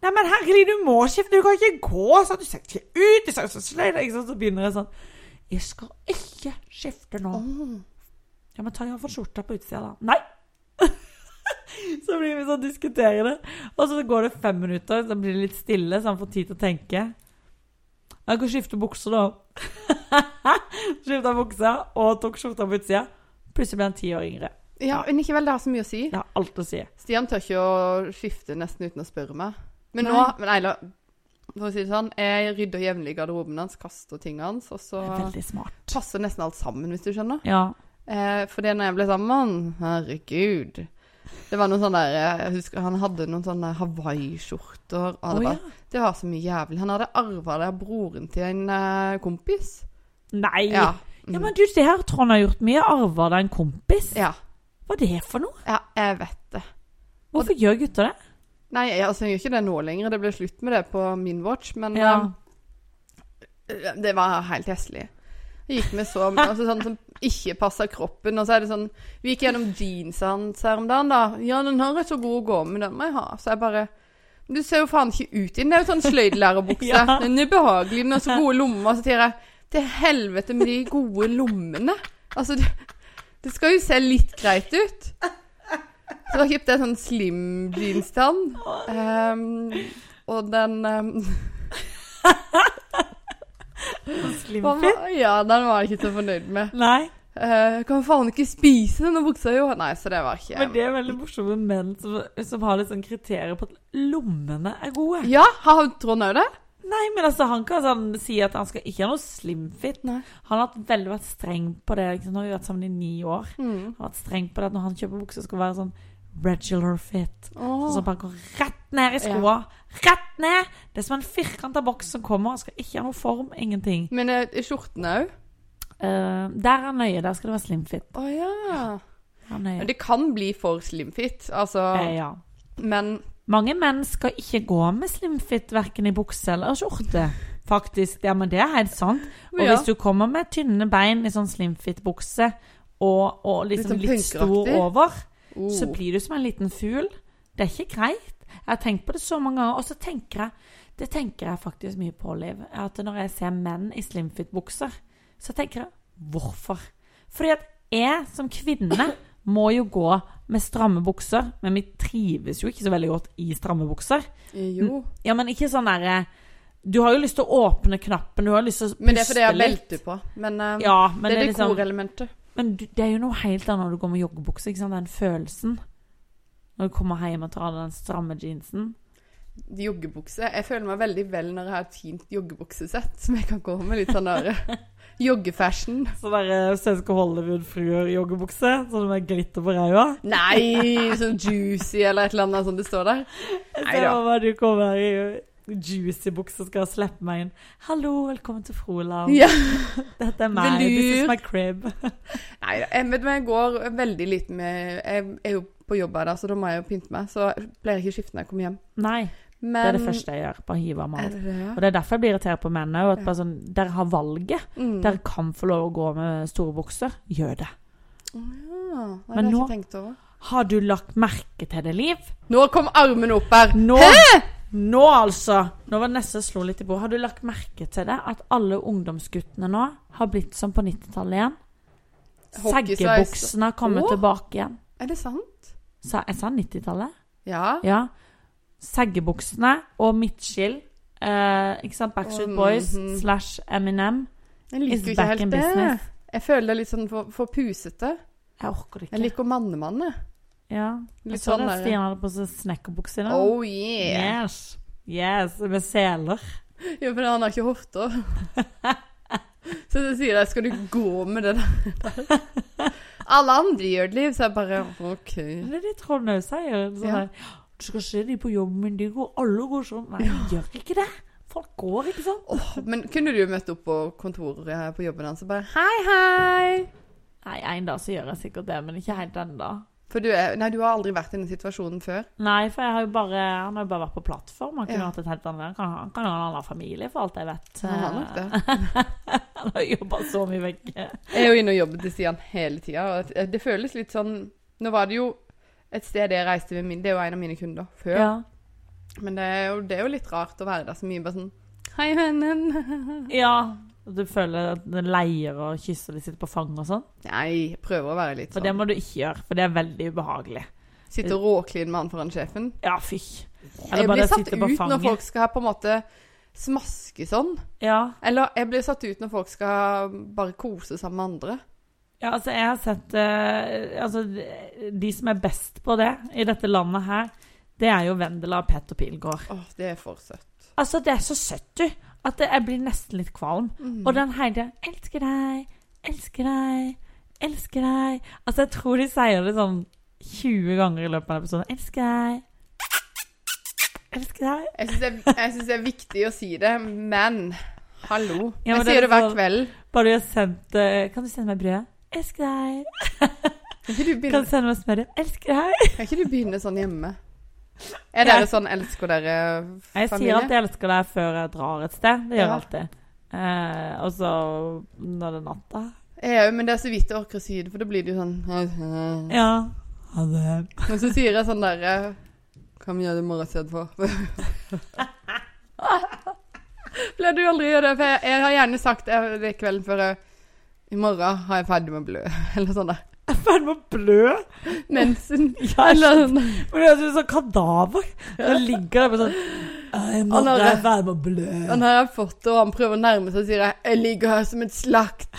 Nei, men herregud, du må skifte. Du kan ikke gå sånn. Du ser ikke ut. Du ser så sløy ut. Ikke sant? Så begynner jeg sånn. Jeg skal ikke skifte nå. Ja, men ta iallfall skjorta på utsida, da. Nei! *laughs* så blir vi sånn diskuterende. Og så går det fem minutter, så blir det litt stille, så han får tid til å tenke. Jeg kan skifte bukser, da. *laughs* Skifta buksa og tok skjorta på utsida. Plutselig ble han ti år yngre. Ja, men ikke vel, det har så mye å si. Det har alt å si. Stian tør ikke å skifte nesten uten å spørre meg. Men Nei. nå Men Eila, for å si det sånn, jeg rydder jevnlig garderoben hans, kaster tingene hans, og så Det er veldig smart. passer nesten alt sammen, hvis du skjønner. Ja. Eh, for det når jeg ble sammen med han, herregud Det var noen sånne der eh, Jeg husker han hadde noen sånne hawaiiskjorter. og det Å, var- ja. Det var så mye jævlig. Han hadde arva det av broren til en eh, kompis. Nei! Ja. Ja. Mm. men du, det her Trond har gjort mye. Arva det en kompis? ja. Hva er det for noe? Ja, jeg vet det. Hvorfor gjør gutter det? Nei, jeg, altså, jeg gjør ikke det nå lenger. Det ble slutt med det på min watch, men Ja. eh, det var helt heslig. Jeg gikk med så altså, sånn som ikke passer kroppen, og så er det sånn Vi gikk gjennom jeansa hans her om dagen, da. Ja, den her er så god å gå med, den må jeg ha. Så jeg bare Du ser jo faen ikke ut i den. Det er jo sånn sløydlærerbukse. Ja. Den er behagelig, den har så gode lommer. Så sier jeg Til helvete med de gode lommene. Altså, det, det skal jo se litt greit ut. Så da kjøpte jeg sånn slim jeans til han. Ehm, og den ehm, Slim han var, Ja, den var jeg ikke så fornøyd med. Nei, Uh, kan faen ikke spise denne buksa, jo. Nei, så det var ikke men det er veldig morsomme menn som, som har litt sånn kriterier på at lommene er gode. Ja, har Trond òg det? Nei, men altså, han kan sånn, si at han skal ikke ha noe slimfit. Nei. Han har vært veldig vært streng på det. Ikke sant? Nå har vi vært sammen i ni år. Mm. Han har vært streng på det at når han kjøper bukser, skal det være sånn regular fit. Åh. Så bare går rett ned i skoa. Rett ned! Det er som en firkanta boks som kommer. Han skal ikke ha noe form, ingenting. Men eh, i skjortene òg? Eh, der er han nøye. Der skal det være slimfit. Å ja. Han er nøye. Det kan bli for slimfit, altså. Eh, ja. Men Mange menn skal ikke gå med slimfit verken i bukse eller skjorte. Faktisk. Ja, men det er helt sant. Og Ja. hvis du kommer med tynne bein i sånn slimfit-bukse og, og liksom Litt sånn litt, stor punkeraktig. over, oh. så blir du som en liten fugl. Det er ikke greit. Jeg har tenkt på det så mange ganger. Og så tenker jeg Det tenker jeg faktisk mye på, Liv. er At når jeg ser menn i slimfit-bukser, så tenker jeg hvorfor? Fordi at jeg som kvinne må jo gå med stramme bukser, men vi trives jo ikke så veldig godt i stramme bukser. Jo. Ja, men ikke sånn derre Du har jo lyst til å åpne knappen, du har lyst til å puste litt. Men det er fordi jeg har belte på. Men, eh, Ja, men det er liksom, dekorelementet. men du- det er jo noe helt annet når du går med joggebukse, ikke sant? Den følelsen. Når du kommer hjem og tar av den stramme jeansen. Joggebukse. Jeg føler meg veldig vel når jeg har et fint joggebuksesett som jeg kan gå med. Litt sånn *laughs* der eh, joggefashion. Så der eh, svenske Hollywood-fruer-joggebukse, sånn med glitter på ræva. Nei, sånn juicy eller et eller annet sånt det står *laughs* der. Nei da. Så du kommer i juicy bukse og skal slippe meg inn. Hallo, velkommen til Froland. Ja. Dette er meg. This is Velur. my crib. Nei da. Jeg, vet, du, jeg går veldig lite med Jeg er jo på jobb her, da, så da må jeg jo pynte meg. Så jeg pleier ikke å skifte når jeg kommer hjem. Nei, Men, det er det første jeg gjør. Bare hive av meg Um, Er alt. det det, ja? Og det er derfor jeg blir irritert på mennene. og At Ja. bare sånn, dere har valget. Mm. Dere kan få lov å gå med store bukser. Gjør det. Ja, nei, det Men har jeg nå- ikke tenkt over. Har du lagt merke til det, Liv? Nå kom armen opp her! Nå, nå altså Nå var det nesten jeg slo litt i bordet. Har du lagt merke til det? At alle ungdomsguttene nå har blitt som på 90-tallet igjen? Hockeysveis. Seggebuksene har kommet Åh. tilbake igjen. Er det sant? Sa, jeg sa 90-tallet? Ja. Ja. Seggebuksene og midtskill. Eh, ikke sant? Backstreet Boys Mhm. slash Eminem Jeg is liker jo ikke back in helt det. business. Jeg føler det er litt sånn for, for pusete. Jeg orker det ikke. Jeg liker mannemanne. ja. Jeg Litt så sånn det at der. Stian hadde på seg snekkerbukse i dag. Oh yeah. Yes. Yes, med seler. Ja, for han har ikke hofter. *laughs* Så jeg sier jeg, skal du gå med det der? Alle andre gjør det, Liv, så jeg bare OK. Det er det Trond òg sier. Sånn Ja. der, du skal se de på jobben min, de går, alle går sånn. Nei, de gjør ikke det. Folk går, ikke sånn. sant? Åh, men kunne du jo møtt opp på kontoret her på jobben hans og bare Hei, hei! Nei, en dag så gjør jeg sikkert det, men ikke helt ennå. For du, er, nei, du har aldri vært i den situasjonen før. Nei, for jeg har jo bare, han har jo bare vært på plattform. Han kunne Ja. hatt et helt annet. Han kan, han kan ha en annen familie, for alt jeg vet. Han har nok det. *laughs* Han har jobba så mye vekke. Jeg er jo inne og jobber til Stian hele tida, og det- det føles litt sånn Nå var det jo et sted jeg reiste med min Det er jo en av mine kunder før. Ja. Men det er, jo, det er jo litt rart å være der så mye bare sånn Hei, vennen. *laughs* ja. Du føler at den leier og kysser de sitter på fanget og sånn. Nei, jeg prøver å være litt For det sånn. må du ikke gjøre, for det er veldig ubehagelig. Sitte og råkline med han foran sjefen. Ja, fy. Jeg blir satt sitte ut når folk skal på en måte smaske sånn. Ja. Eller jeg blir satt ut når folk skal bare kose sammen med andre. Ja, altså, jeg har sett eh, Altså, de som er best på det i dette landet her, det er jo Vendela og Petter Pilgaard. Åh, det er for søtt. Altså, det er så søtt, du, at det- jeg blir nesten litt kvalm. Mm. Og den Heidi 'Elsker deg, elsker deg, elsker deg' Altså, jeg tror de sier det sånn 20 ganger i løpet av episoden. 'Elsker deg, elsker deg'. Jeg syns det, er- jeg synes det er viktig å si det, men hallo. Ja, men jeg det er sier det hver så- kveld. Bare du har sendt eh, 'Kan du sende meg brød?' 'Elsker deg'. Kan ikke du 'Kan begynne, du sende meg smør?' 'Elsker deg'. kan ikke du begynne sånn hjemme? Er dere sånn 'elsker dere'-familie? Jeg sier alltid 'elsker deg' før jeg drar et sted. Det gjør jeg Ja. alltid. Eh, og så når det er natta. Jeg òg, men det er så vidt jeg orker å si det, for da blir det jo sånn Ja. Ha det. Men så sier jeg sånn derre Hva vi gjør i morgen istedenfor? *laughs* Pleier du aldri å gjøre det? For jeg, jeg har gjerne sagt eh, det kvelden før jeg, I morgen har jeg ferdig med å blø, *laughs* eller sånn der. Jeg er ferdig med å blø. Mensen. *laughs* Ja, Eller sånn. Men det høres ut som sånn kadaver. Så ligger der bare sånn Jeg må Han har- jeg er ferdig med å blø. Han har jeg fått, og han prøver å nærme seg og sier jeg, 'Jeg ligger her som et slakt'.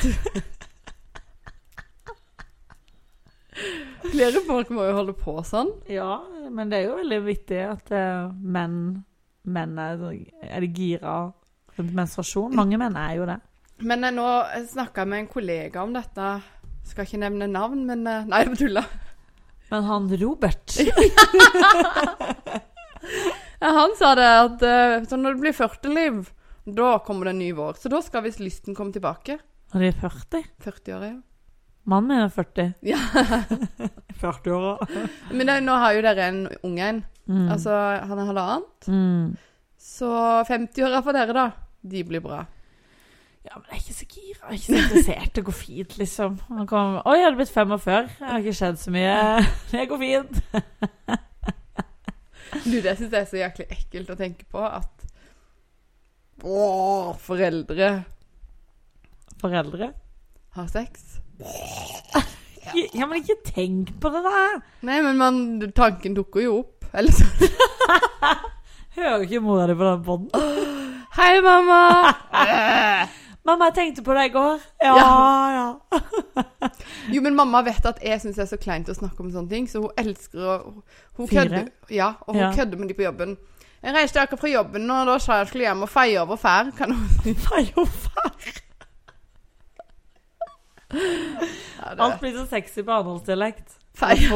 *laughs* Flere folk må jo holde på sånn. Ja, men det er jo veldig vittig at eh, menn Menn er, er de gira rundt menstruasjon. Mange menn er jo det. Men eh, nå snakka jeg med en kollega om dette. Skal ikke nevne navn, men eh, Nei, jeg tuller. Men han Robert Ja, han sa det at eh, så når det blir 40 liv, da kommer det en ny vår. Så da skal visst lysten komme tilbake. Han er 40. 40 år, ja. Mannen min er 40. Ja. *laughs* 40-åra. Men det, nå har jo dere en unge en. Mm. Altså, han er halvannen. mm. Så 50-åra for dere, da. De blir bra. Ja, men jeg er ikke så gira. Jeg er ikke så interessert. Det går fint, liksom. Han kom, Oi, jeg hadde blitt 45. Jeg har ikke skjedd så mye. *laughs* Det går fint. Du, det syns jeg er så jæklig ekkelt å tenke på at Åh, foreldre Foreldre? har sex. Ja, men ikke tenk på det der! Nei, men man, tanken dukker jo opp. Eller så *laughs* Hører ikke mora di på den bånden? Hei, mamma! Mamma, jeg tenkte på deg i går. Ja, ja. Jo, men mamma vet at jeg syns det er så kleint å snakke om sånne ting, så hun elsker å Hun Fyre? kødder, ja, og hun Ja. kødder med de på jobben. Jeg reiste akkurat fra jobben, og da sa jeg skulle hjem og feie over fær. Kan hun *laughs* si? Nei, jo faen. Ja, det Alt blir så sexy på arendalsdialekt. feie.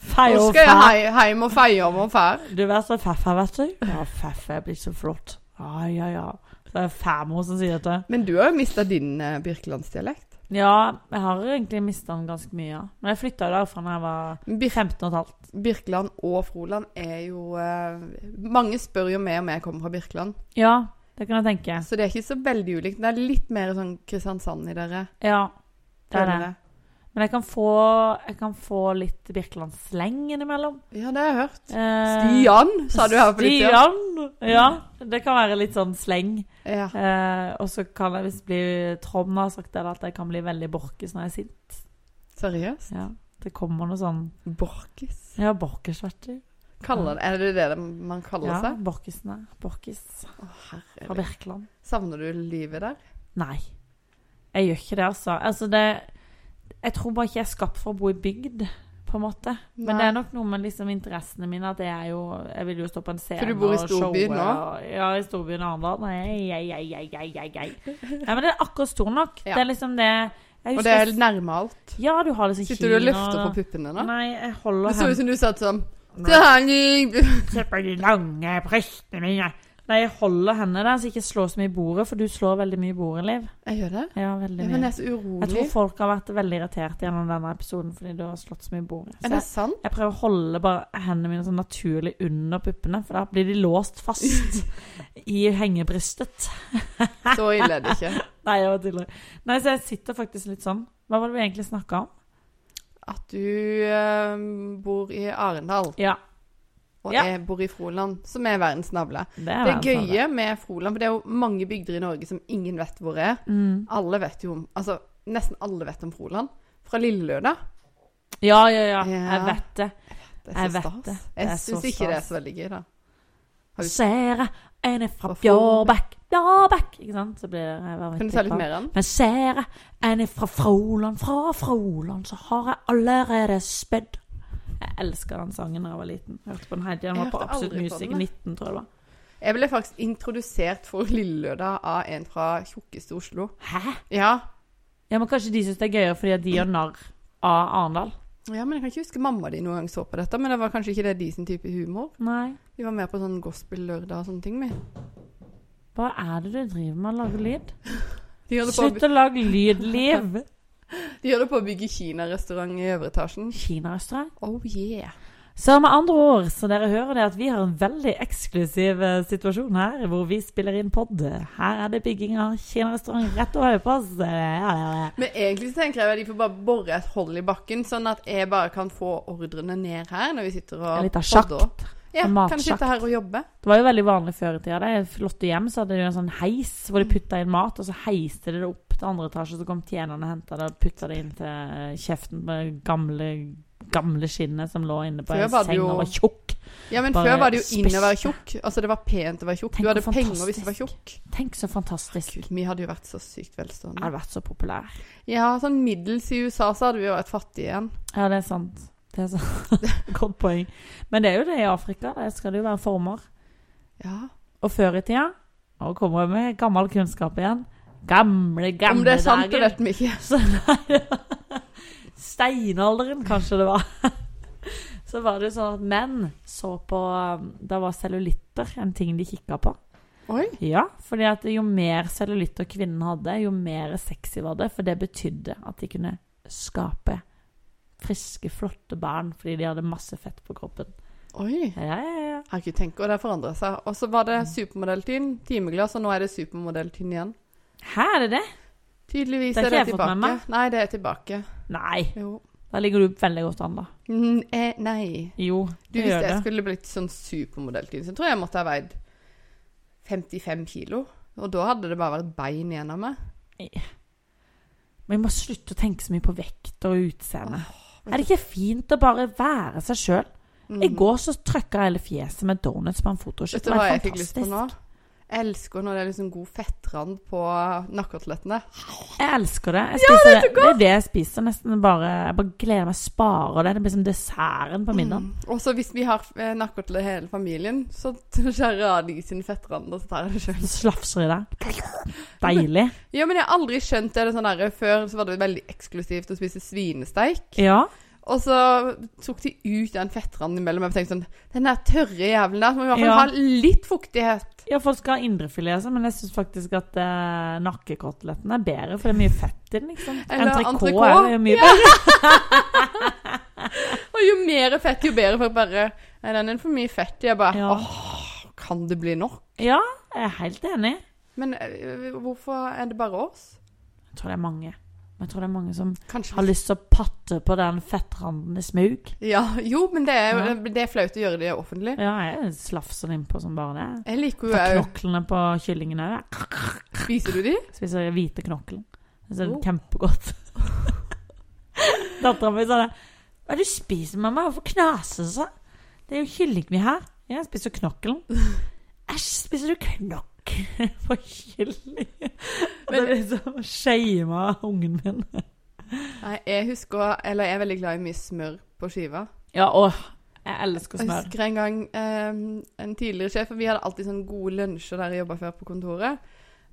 Fei Nå og skal fæ. jeg hei- hjem og feie over fær. Du er så fæffa, vet du. Ja, fæffa er blitt så flott. Ja, ja, ja. Så er det færmor som sier dette. Men du har jo mista din eh, Birkelandsdialekt. Ja, jeg har egentlig mista den ganske mye, ja. Men jeg flytta jo derfra da jeg var Bir 15 og et halvt. Birkeland og Froland er jo eh, Mange spør jo meg om jeg kommer fra Birkeland, Ja, det kan jeg tenke. så det er ikke så veldig ulikt. Det er litt mer sånn Kristiansand i dere. Ja, det er føler det. jeg. Men jeg kan få, jeg kan få litt Birkeland-sleng innimellom. Ja, det har jeg hørt. Eh, Stian, sa du her på ditt ja. Stian! Ja, det kan være litt sånn sleng. ja. Eh, og så kan jeg visst bli Trond har sagt det, da, at jeg kan bli veldig borkes når jeg er sint. Seriøst? Ja, det kommer noe sånn Borkis? Ja, borkes, vet du. Kaller, er det det man kaller Ja, seg? borkesene. Borkes Å, fra herregud. Birkeland. Savner du livet der? Nei. Jeg gjør ikke det, altså. Altså, det Jeg tror bare ikke jeg er skapt for å bo i bygd, på en måte. Men det er nok noe med liksom interessene mine at jeg er jo Jeg vil jo stå på en scene For du bor i og showe storbyen nå? og- Ja, i storbyen Arendal. Nei, ei, ei, ei, ei, ei, ei. Nei, men det er akkurat stor nok. Ja. Det er liksom det jeg Og husker, det er nærme alt. Ja, du har liksom Sitter du og kino- løfter på puppene nå? Nei, jeg Det holder så ut hen- som du satt sånn Nei. Terning! Se på de lange brystene mine. Nei, jeg holder henne der, så jeg ikke slår så mye i bordet, for du slår veldig mye i bordet, Liv. Jeg gjør det? Ja, veldig Ja, men mye. jeg er så Jeg urolig. tror folk har vært veldig irritert gjennom denne episoden fordi du har slått så mye i bordet. Så Er det sant? Jeg prøver å holde bare hendene mine sånn naturlig under puppene, for da blir de låst *laughs* fast i hengebrystet. Så ille er det ikke. Nei, jeg var tidligere. Nei, så jeg sitter faktisk litt sånn. Hva var det vi egentlig snakka om? At du eh, bor i Arendal, Ja, og Ja. jeg bor i Froland, som er verdens navle. det er Det verdens navle. gøye med Froland, for det er jo mange bygder i Norge som ingen vet hvor er. Mm. Alle vet jo om Altså, nesten alle vet om Froland. Fra Lillelørdag. Ja, ja, ja, jeg Ja. vet det. Det Jeg er så vet det. stas. Det er Jeg så syns ikke det er stas. så veldig gøy, da. Har du- Ser jeg en er fra Fra Fjordbakk. Bjårbæk Ja, back! Ikke sant? Så blir det hva vet Kan jeg du ta litt hva. mer av den? Men ser jeg en fra Froland, fra Froland, så har jeg allerede spedd. Jeg elsker den sangen da jeg var liten. Jeg hørte på den hele tiden. Den Jeg var på hørte Absolutt aldri på Music den, jeg. 19, tror jeg det var. Jeg ble faktisk introdusert for Lillelørdag av en fra tjukkeste Oslo. Hæ? Ja. Ja, men kanskje de syns det er gøyere fordi at de gjør narr av Arendal? ja, men jeg kan ikke huske mamma di noen gang så på dette, men det var kanskje ikke det de sin type humor. Nei. De var mer på sånn gospel-lørdag og sånne ting. Med. Hva er det du driver med å lage lyd? De holder på, å by- Slutt å lage lyd, Liv! de holder på å bygge kinarestaurant i øvre etasjen. Kinarestaurant. Oh yeah. Så med andre ord, så dere hører det at vi har en veldig eksklusiv eh, situasjon her, hvor vi spiller inn pod. Her er det bygging av kinarestaurant rett over på oss. Eh, Ja, ja, ja. Men egentlig så tenker jeg at de får bare borre et hull i bakken, sånn at jeg bare kan få ordrene ned her når vi sitter og En liten podder. sjakt. Ja, En kan matsjakt. jeg sitte her og jobbe? Det var jo veldig vanlig før i tida. da. I flotte hjem så hadde de jo en sånn heis hvor Mm. de putta inn mat, og så heiste de det opp til andre etasje, så kom tjenerne og henta det og putta det inn til eh, kjeften på det gamle, gamle skinnet som lå inne på Før en var det seng jo- og var tjukk. Ja, men Bare før var det jo inn å være spisse. tjukk. Altså, det var pent å være tjukk. Tenk Du hadde hvor penger hvis du var fantastisk. tjukk. Tenk så fantastisk. Gud, vi hadde jo vært så sykt Jeg velstående. hadde vært så populær. Ja, sånn middels i USA så hadde vi jo vært fattige igjen. Ja, det er sant. Det er sant. *laughs* Godt poeng. Men det er jo det i Afrika. Der skal det jo være former. Ja. Og før i tida Nå kommer jeg med gammel kunnskap igjen. Gamle, gamle Om det er sant, det dager. vet vi ikke. Så nei, *laughs* Steinalderen, kanskje det var. *laughs* Så var det jo sånn at menn så på um, Da var cellulitter en ting de kikka på. Oi. Ja, fordi at jo mer cellulitter kvinnen hadde, jo mer sexy var det. For det betydde at de kunne skape friske, flotte barn fordi de hadde masse fett på kroppen. Oi. Ja, ja, ja. Jeg har ikke tenkt å det har forandret seg. Og så var det Mm. supermodelltynn, timeglass, og nå er det supermodelltynn igjen. Hæ, er det det? Tydeligvis Det har er det ikke jeg fått tilbake. med meg. Nei, det er tilbake. Nei, Jo. da ligger du veldig godt an, da. Mm, eh, nei. Jo, Du, det hvis gjør jeg det. skulle blitt sånn supermodelltynn, så tror jeg jeg måtte ha veid 55 kilo. Og da hadde det bare vært bein igjen av meg. Men vi må slutte å tenke så mye på vekt og utseende. Er det ikke fint å bare være seg sjøl? I går så trøkka jeg hele fjeset med donuts på en fotoshoot. Mm. Vet du Det var hva jeg fikk lyst på fantastisk. nå? Jeg elsker når det er liksom god fettrand på nakkekotelettene. Jeg elsker det. Jeg spiser, det, er det jeg spiser nesten bare. Jeg bare gleder meg. Sparer det. Det blir som desserten på middagen. Mm. Og så hvis vi har eh, nakkekotelett hele familien, så *laughs* skjærer jeg av de sine fettrander, så tar jeg det sjøl. Så slafser i det. *laughs* Deilig. Ja, men jeg har aldri skjønt det. det sånn der, Før så var det veldig eksklusivt å spise svinesteik. Ja. Og så tok de ut den fettranden imellom. Jeg tenkte sånn Den der tørre jævelen der, så må vi i hvert fall Ja. ha litt fuktighet. ja, folk skal ha indrefilet, altså, men jeg syns faktisk at eh, nakkekoteletten er bedre, for det er mye fett i den. ikke sant? Eller Entrecôte entrecôte. er jo mye bedre. Og jo mer fett, jo bedre. For jeg bare Nei, den er for mye fett. Jeg bare Ja. Åh, kan det bli nok? Ja, jeg er helt enig. Men eh, hvorfor er det bare oss? Jeg tror det er mange. Jeg tror det er mange som Kanskje har lyst til å patte på den fettranden i smug. Ja, jo, men det er jo Ja. det er flaut å gjøre det offentlig. Ja, jeg slafser den innpå som bare det. Jeg liker jo Ta òg knoklene på kyllingene òg. Spiser du de? Spiser hvite knokler. Det er Oh. *laughs* kjempegodt. Dattera mi sa det. Hva er det du spiser, mamma? Hvorfor knaser det seg? Det er jo kylling vi har. Ja, Jeg spiser *laughs* knokkelen. Æsj, spiser du knokkel *laughs* på kylling? Det er liksom shama ungen min. Nei, jeg husker Eller jeg er veldig glad i mye smør på skiva. Ja, åh. Jeg elsker Jeg smør. husker en gang eh, en tidligere sjef og Vi hadde alltid sånne gode lunsjer der jeg jobba før på kontoret.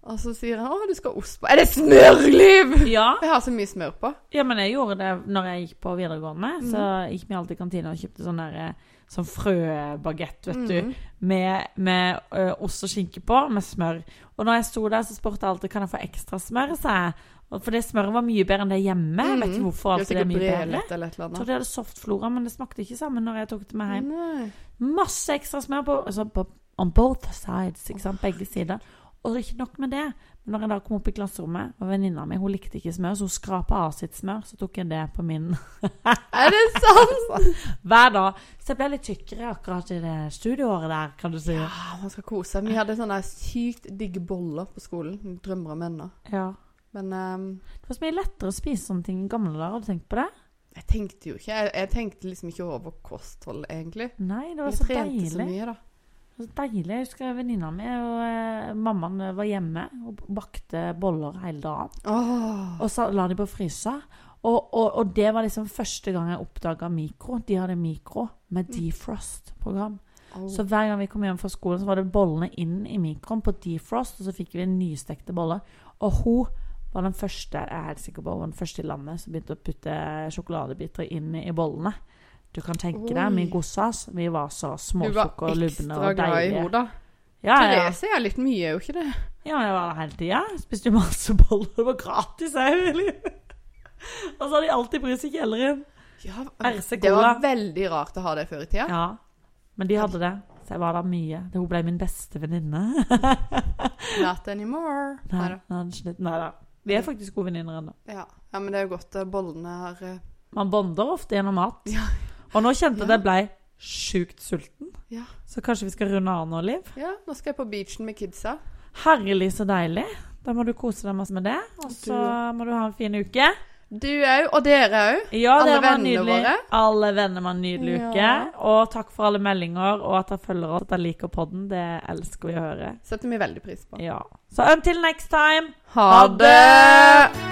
Og så sier han 'Å, du skal ha ost på'. Er det smørliv?! Ja. Jeg har så mye smør på. Ja, men jeg gjorde det når jeg gikk på videregående. Så gikk vi alltid i kantina og kjøpte sånn der, eh, sånn frøbagett, vet Mm. du. Med, med ø, ost og skinke på, med smør. Og når jeg sto der, så spurte jeg alltid kan jeg få ekstra smør. sa jeg. Og For det smøret var mye bedre enn det hjemme. Jeg vet ikke Mm. hvorfor alltid Mhm. det er mye bedre. Eller et eller Jeg tror annet. de hadde softflora, men det smakte ikke sammen når jeg tok det med hjem. Nei. Masse ekstra smør på, altså på on both sides, ikke sant? begge sider. Og det er ikke nok med det. Men når jeg da kom opp i klasserommet, og venninna mi hun likte ikke smør, så hun skrapa av sitt smør, så tok jeg det på min *laughs* Er det sant?! hver dag. Så jeg ble litt tykkere akkurat i det studieåret der, kan du si. Ja. Ja, man skal kose seg. Vi hadde sånne sykt digge boller på skolen. Vi drømmer om ennå. Men eh, Det var så mye lettere å spise sånne ting i gamle dager, har du tenkt på det? jeg tenkte jo ikke jeg, jeg tenkte liksom ikke over kosthold, egentlig. Nei, det var Jeg så trente så deilig. mye, da. Så Det var så deilig. Jeg husker venninna mi og eh, mammaen var hjemme og bakte boller hele dagen. Åh. Og så la de på frysa. Og, og, og det var liksom første gang jeg oppdaga mikro. De hadde mikro med defrost-program. Mm. Så hver gang vi kom hjem fra skolen, så var det bollene inn i mikroen på defrost, og så fikk vi nystekte boller. Og hun var den første jeg er helt sikker på, hun var den første i landet som begynte å putte sjokoladebiter inn i bollene. Du kan tenke deg, vi Oi. gossas, vi var så du var småtjukke og lubne ekstra og glad i deilige. henne, da. Ja, ja. Therese er litt mye, er jo ikke det? ja, jeg var der hele tida. Spiste jo masse boller, det var gratis òg, eller? Og så hadde de alltid brus i kjelleren. Ja, RC det Cola. var veldig rart å ha det før i tida. Ja, men de hadde det. Så jeg var der mye. Hun ble min beste venninne. *laughs* Not anymore. Nei, Neida. nei, slutt. Nei da. Vi er faktisk gode venninner ennå. Ja. ja, men det er jo godt at bollene har eh, Man bonder ofte gjennom mat. Ja. Og nå kjente jeg at Ja. jeg blei sjukt sulten. Ja. Så kanskje vi skal runde av nå, Liv. Ja, nå skal jeg på beachen med kidsa. Herlig så deilig. Da må du kose deg masse med det. Og så må du ha en fin uke. Du òg, og dere òg. Ja, Alle det var vennene nydelig. våre. Alle venner var en nydelig Ja. uke. Og takk for alle meldinger, og at dere følger oss, at dere liker podden. Det elsker vi å høre. Setter vi veldig pris på. Ja. Så until next time. Ha Ha det!